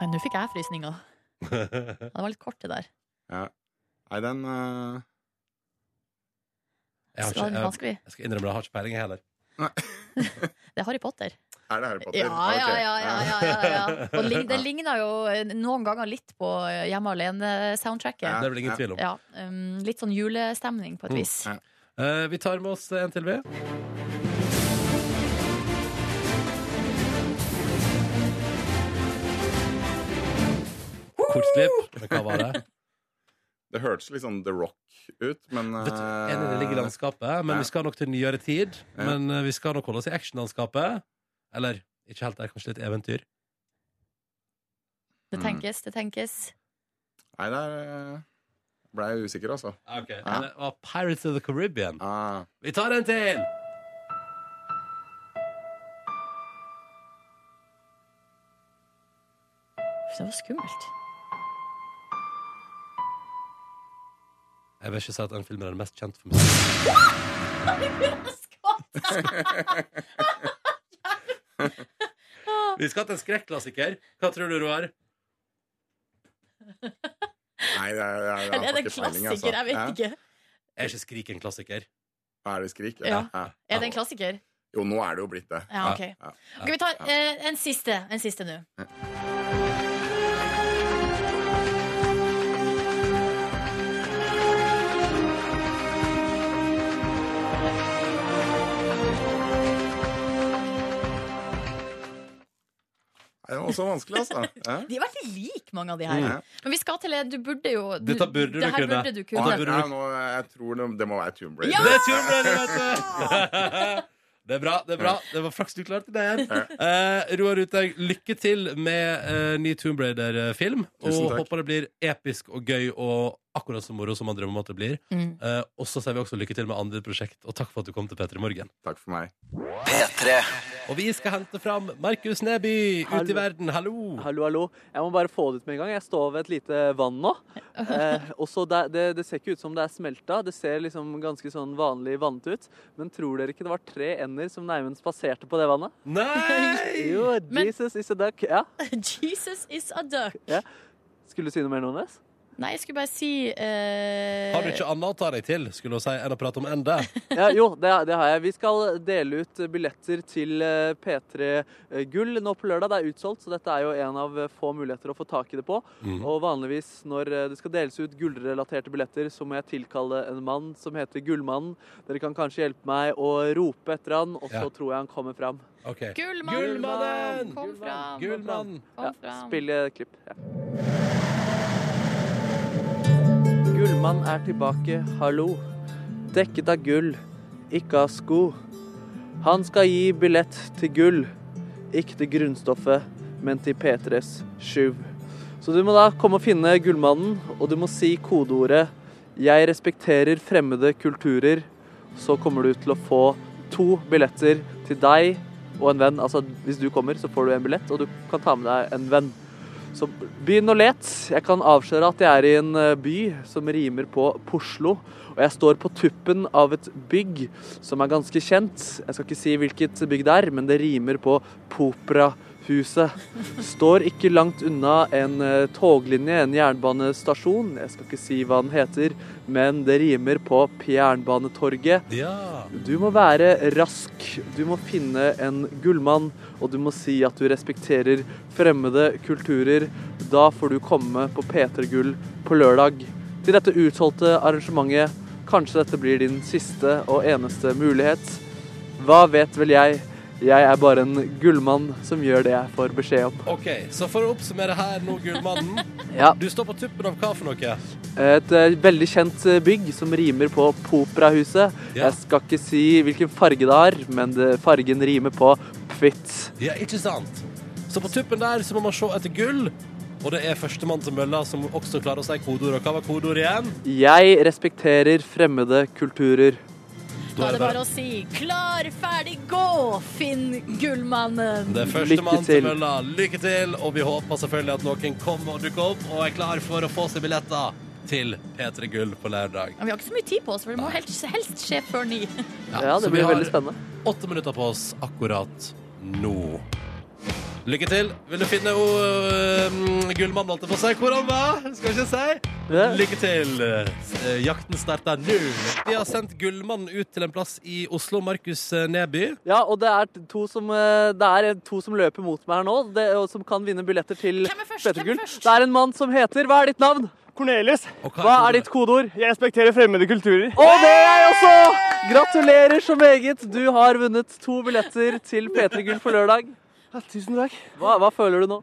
Speaker 3: Nei, Nå fikk jeg frysninger. Ja, Det var litt kort, det der.
Speaker 7: Ja. Nei, den eh,
Speaker 2: Jeg, har
Speaker 3: Så det var litt
Speaker 2: ikke, jeg,
Speaker 3: vanskelig.
Speaker 2: jeg skal innrømme det, jeg har ikke peiling jeg heller.
Speaker 3: Det er Harry Potter.
Speaker 7: Er det Harry Potter?
Speaker 3: Ja, ja,
Speaker 7: Ok.
Speaker 3: ja. ja, ja, ja, ja. Og lig- det ligner jo eh, noen ganger litt på eh, Hjemme
Speaker 2: Det
Speaker 3: alene-soundtracket.
Speaker 2: er vel ingen
Speaker 7: Ja. Mm.
Speaker 2: tvil om.
Speaker 3: Ja, um, Litt sånn julestemning, på et vis.
Speaker 7: Ja.
Speaker 2: Eh, vi tar med oss en til, vi. Kortklipp. Men hva var det?
Speaker 7: Det hørtes litt sånn The Rock ut, men
Speaker 2: Vet du,
Speaker 7: eh,
Speaker 2: Enig, det ligger i landskapet, men
Speaker 7: Ja.
Speaker 2: vi skal nok til nyere tid.
Speaker 7: Ja.
Speaker 2: Men eh, vi skal nok holde oss i actionlandskapet. Eller ikke helt der, kanskje litt eventyr.
Speaker 3: Det tenkes, det tenkes.
Speaker 7: Nei, der eh, ble jeg usikker, altså. Ja.
Speaker 2: Eh, Det var Pirates of the Caribbean.
Speaker 7: Ah,
Speaker 2: Vi tar en til!
Speaker 3: Det var skummelt.
Speaker 2: Jeg vil ikke si at den filmen er den mest kjent for musikk. Vi skal til en skrekklassiker. Hva tror du, Roar?
Speaker 7: Nei, jeg, jeg, jeg,
Speaker 3: Eller
Speaker 7: har
Speaker 3: er det en
Speaker 7: ikke peiling,
Speaker 3: klassiker?
Speaker 7: altså.
Speaker 3: Jeg vet
Speaker 7: Hæ?
Speaker 3: ikke.
Speaker 2: Er ikke Skrik en klassiker?
Speaker 7: Er det Skrik?
Speaker 3: Ja.
Speaker 7: Hæ?
Speaker 3: Er det en klassiker?
Speaker 7: Jo, nå er det jo blitt det.
Speaker 3: Ja, ok.
Speaker 7: Ja.
Speaker 3: Ok, Vi tar eh, en siste En siste nå.
Speaker 7: Det er også vanskelig, altså. Hæ?
Speaker 3: De er veldig like, mange av de her.
Speaker 7: Ja.
Speaker 3: Men vi skal til en Du burde jo du,
Speaker 2: Dette burde du
Speaker 3: det her
Speaker 2: kunne.
Speaker 3: Burde du
Speaker 7: Nei,
Speaker 3: kunne.
Speaker 2: burde
Speaker 7: nei,
Speaker 2: du-
Speaker 7: nå, jeg tror det, det må være Tomb Raider.
Speaker 3: Ja!
Speaker 2: Det er Tomb Raider, vet du! Det er bra. Det er bra Det var flaks du klarte det. her eh, Roar Uthaug, lykke til med eh, ny Tomb Raider-film.
Speaker 7: Tusen
Speaker 2: Og
Speaker 7: takk.
Speaker 2: håper det blir episk og gøy og akkurat så moro som man drømmer om at det blir.
Speaker 3: Mm.
Speaker 2: Eh, og så sier vi også lykke til med andre prosjekt, og takk for at du kom til P3 Morgen.
Speaker 7: Takk for meg.
Speaker 2: Og vi skal hente fram Markus Neby ut i
Speaker 1: Hallo.
Speaker 2: verden. Hallo!
Speaker 1: Hallo, hallo. Jeg må bare få det ut med en gang. Jeg står ved et lite vann nå. Eh, og så det, det, det ser ikke ut som det er smelta. Det ser liksom ganske sånn vanlig vannet ut. Men tror dere ikke det var tre ender som nærmest passerte på det vannet?
Speaker 2: Nei!
Speaker 1: Jo,
Speaker 3: Men-
Speaker 1: Jesus is a duck. Ja.
Speaker 3: Jesus is a duck.
Speaker 1: Skulle du si noe mer, Nånes?
Speaker 3: Nei, jeg skulle bare si eh,
Speaker 2: Har du ikke annet å ta deg til skulle hun si, enn å prate om ende?
Speaker 1: Ja, jo, det, det har jeg. Vi skal dele ut billetter til eh, P3 Gull nå på lørdag. Det er utsolgt, så dette er jo en av eh, få muligheter å få tak i det på.
Speaker 2: Mhm.
Speaker 1: Og vanligvis når eh, det skal deles ut gullrelaterte billetter, så må jeg tilkalle en mann som heter Gullmannen. Dere kan kanskje hjelpe meg å rope etter han, og så
Speaker 2: Ja.
Speaker 1: tror jeg han kommer fram.
Speaker 2: Ok.
Speaker 3: Gullmannen!
Speaker 2: Gullmannen!
Speaker 3: Kom fram!
Speaker 2: Gullmannen!
Speaker 3: Kom
Speaker 1: Ja,
Speaker 3: fram.
Speaker 1: spill eh, klipp. Ja. Gullmann er tilbake, hallo. Dekket av gull, ikke av sko. Han skal gi billett til gull, ikke til grunnstoffet, men til P3s sjuv. Så du må da komme og finne gullmannen, og du må si kodeordet 'Jeg respekterer fremmede kulturer'. Så kommer du til å få to billetter til deg og en venn. Altså, hvis du kommer, så får du en billett, og du kan ta med deg en venn. Så begynn å lete. Jeg kan avsløre at jeg er i en eh, by som rimer på Poslo. Og jeg står på tuppen av et bygg som er ganske kjent. Jeg skal ikke si hvilket bygg det er, men det rimer på Poprahuset. Står ikke langt unna en eh, toglinje, en jernbanestasjon. Jeg skal ikke si hva den heter, men det rimer på Jernbanetorget.
Speaker 2: Ja.
Speaker 1: Du må være rask. Du må finne en gullmann, og du må si at du respekterer fremmede kulturer. Da får du komme på P3 Gull på lørdag. Til dette utholdte arrangementet. Kanskje dette blir din siste og eneste mulighet. Hva vet vel jeg? Jeg er bare en gullmann som gjør det jeg får beskjed om.
Speaker 2: OK, så for å oppsummere her nå, Gullmannen.
Speaker 1: Ja.
Speaker 2: Du står på tuppen av hva for noe?
Speaker 1: Et eh, veldig kjent eh, bygg som rimer på Poprahuset.
Speaker 2: Ja.
Speaker 1: Jeg skal ikke si hvilken farge det har, men det- fargen rimer på pfitt.
Speaker 2: Ja, ikke sant? Så på tuppen der så må man se etter gull. Og det er førstemann til mølla som også klarer å si kodeord. Og hva var kodeordet igjen?
Speaker 1: Jeg respekterer fremmede kulturer.
Speaker 3: Da er det bare å si klar, ferdig, gå! Finn gullmannen!
Speaker 2: Det er
Speaker 1: Lykke
Speaker 2: førstemann til
Speaker 1: til.
Speaker 2: mølla. Lykke til. Og vi håper selvfølgelig at noen kommer og dukker opp og er klar for å få seg billetter til P3 Gull på lørdag.
Speaker 3: Ja, Vi har ikke så mye tid på oss, for det må helst, helst skje før ni.
Speaker 1: Ja,
Speaker 2: så
Speaker 1: det
Speaker 2: vi
Speaker 1: blir
Speaker 2: har
Speaker 1: veldig spennende.
Speaker 2: Åtte minutter på oss akkurat nå. Lykke til. Vil du finne uh, gullmannen, holdt jeg på å si? Hvor han var? Skal ikke si.
Speaker 1: Ja.
Speaker 2: Lykke til. Eh, jakten starter nå. Vi har sendt gullmannen ut til en plass i Oslo. Markus eh, Neby.
Speaker 1: Ja, og det er to som, eh, det er to som løper mot meg her nå, det, og som kan vinne billetter til
Speaker 3: Hvem er først?
Speaker 1: Petter
Speaker 3: Hvem er
Speaker 1: Gull.
Speaker 3: først?
Speaker 1: Det er en mann som heter Hva er ditt navn?
Speaker 9: Cornelis,
Speaker 2: Og
Speaker 1: Hva er ditt kodeord?
Speaker 9: jeg respekterer fremmede kulturer.
Speaker 1: Og det er jeg også! Gratulerer så meget. Du har vunnet to billetter til P3 Gull for lørdag.
Speaker 9: Ja, tusen takk.
Speaker 1: Hva, hva føler du nå?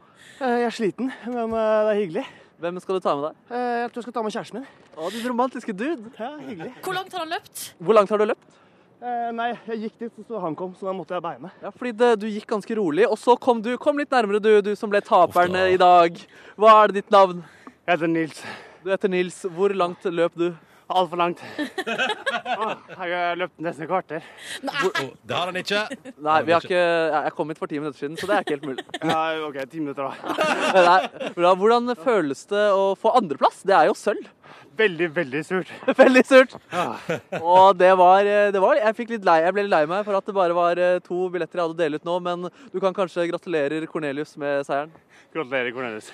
Speaker 9: Eh, Jeg er sliten, men eh, det er hyggelig.
Speaker 1: Hvem skal du ta med deg?
Speaker 9: Eh, Jeg tror jeg skal ta med kjæresten min.
Speaker 1: Å, din romantiske dude.
Speaker 9: Ja, hyggelig.
Speaker 3: Hvor langt har han løpt?
Speaker 1: Hvor langt har du løpt?
Speaker 9: Eh, Nei, jeg gikk dit, så han kom, så da måtte jeg beine.
Speaker 1: Ja, fordi det, du gikk ganske rolig, og så kom du. Kom litt nærmere, du, du som ble taperen
Speaker 2: Uff da.
Speaker 1: eh, i dag. Hva er ditt navn?
Speaker 9: Jeg heter Nils.
Speaker 1: Du heter Nils. Hvor langt løp du?
Speaker 9: Altfor langt. Åh, Jeg har løpt nesten et kvarter.
Speaker 2: Oh, det har han ikke.
Speaker 1: Nei, vi har ikke, jeg kom hit for ti minutter siden, så det er ikke helt mulig.
Speaker 9: Ja, OK, ti minutter, da.
Speaker 1: Nei, bra. hvordan føles det å få andreplass? Det er jo sølv.
Speaker 9: Veldig, veldig surt.
Speaker 1: Veldig surt. Og det var, eh, det var Jeg fikk litt lei, jeg ble litt lei meg for at det bare var eh, to billetter jeg hadde å dele ut nå, men du kan kanskje gratulerer Cornelius med seieren.
Speaker 9: Gratulerer, Cornelis.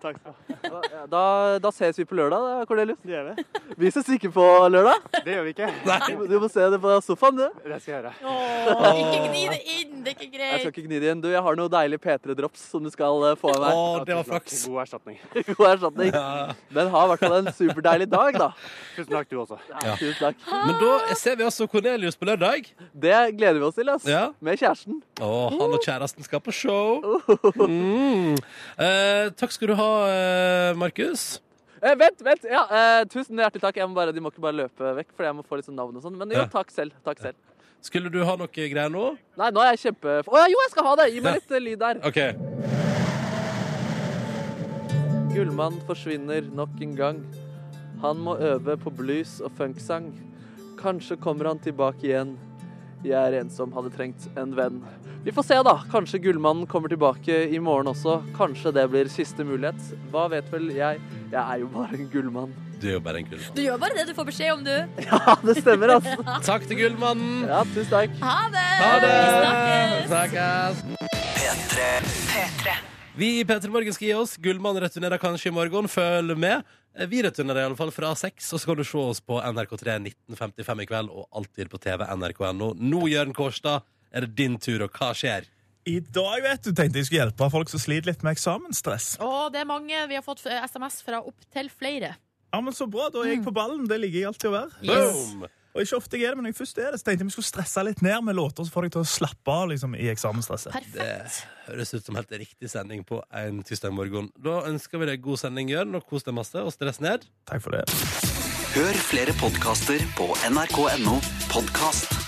Speaker 1: Takk skal du ha. Da, da ses vi på lørdag, da, Cornelius.
Speaker 9: Det gjør vi.
Speaker 1: Vi ses ikke på lørdag.
Speaker 9: Det gjør vi ikke.
Speaker 1: Du, du må se det på sofaen, du.
Speaker 9: Det skal jeg gjøre.
Speaker 3: Åh, ikke gni det inn, det er ikke
Speaker 1: Jeg skal
Speaker 3: greit.
Speaker 1: ikke gni det igjen. Du, jeg har noe deilig P3-drops som du skal eh, få av meg.
Speaker 2: Å, det var flaks.
Speaker 9: God erstatning.
Speaker 1: God erstatning. sånn, Men ha i hvert fall en superdeilig dag, da.
Speaker 9: Tusen takk, du også.
Speaker 2: Ja.
Speaker 1: Tusen takk.
Speaker 2: Men da ser vi altså Cornelius på lørdag.
Speaker 1: Det gleder vi oss til, ass.
Speaker 2: Ja.
Speaker 1: Med kjæresten.
Speaker 2: Og han
Speaker 3: Mm.
Speaker 2: og kjæresten skal på show.
Speaker 3: Uh.
Speaker 2: Mm. Eh, takk skal du ha, eh, Markus.
Speaker 1: Eh, vent, vent! Ja, eh, tusen hjertelig takk. Jeg må bare, de må ikke bare løpe vekk, for jeg må få litt sånn navn og sånn. Men jo,
Speaker 2: Ja.
Speaker 1: takk selv. Takk selv.
Speaker 2: Skulle du ha noe greier nå?
Speaker 1: Nei, nå er jeg kjempe... Å ja, jo, jeg skal ha det! Gi meg litt eh, lyd der.
Speaker 2: OK.
Speaker 1: Gullmann forsvinner nok en gang. Han må øve på blues og funksang. Kanskje kommer han tilbake igjen. Jeg er en som hadde trengt en venn. Vi får se, da. Kanskje Gullmannen kommer tilbake i morgen også. Kanskje det blir siste mulighet. Hva vet vel jeg? Jeg er jo bare en gullmann.
Speaker 2: Du er jo bare en gullmann.
Speaker 3: Du gjør bare det du får beskjed om, du.
Speaker 1: Ja, det stemmer, altså.
Speaker 2: Takk til gullmannen.
Speaker 1: Ja, tusen takk.
Speaker 3: Ha det!
Speaker 2: Ha det!
Speaker 3: Vi snakkes!
Speaker 2: Snakkes! Vi i P3 Morgen skal gi oss. Gullmann returnerer kanskje i morgen. Følg med. Eh, Vi returnerer i alle fall fra seks, og så kan du se oss på NRK3 1955 i kveld, og alltid på TV nrk.no. Nå, Jørn Kårstad, er det din tur, og hva skjer?
Speaker 10: I dag vet du, tenkte jeg skulle hjelpe folk som sliter litt med eksamensstress.
Speaker 3: Å, det er mange. Vi har fått eh, SMS fra opptil flere.
Speaker 10: Ja, men Så bra, da
Speaker 1: Mm.
Speaker 10: er jeg på ballen. Det ligger jeg alltid å være.
Speaker 3: Yes.
Speaker 2: Boom!
Speaker 10: Og ikke ofte jeg er det, men når jeg først er det, så tenkte jeg vi skulle stresse litt ned med låter som får deg til å slappe av liksom, i eksamensstresset.
Speaker 3: Perfekt.
Speaker 2: Høres ut som helt riktig sending på en tirsdag morgen. Da ønsker vi deg god sending, Jørn, og kos deg masse, og stress ned.
Speaker 10: Takk for det.
Speaker 11: Hør flere podkaster på nrk.no podkast.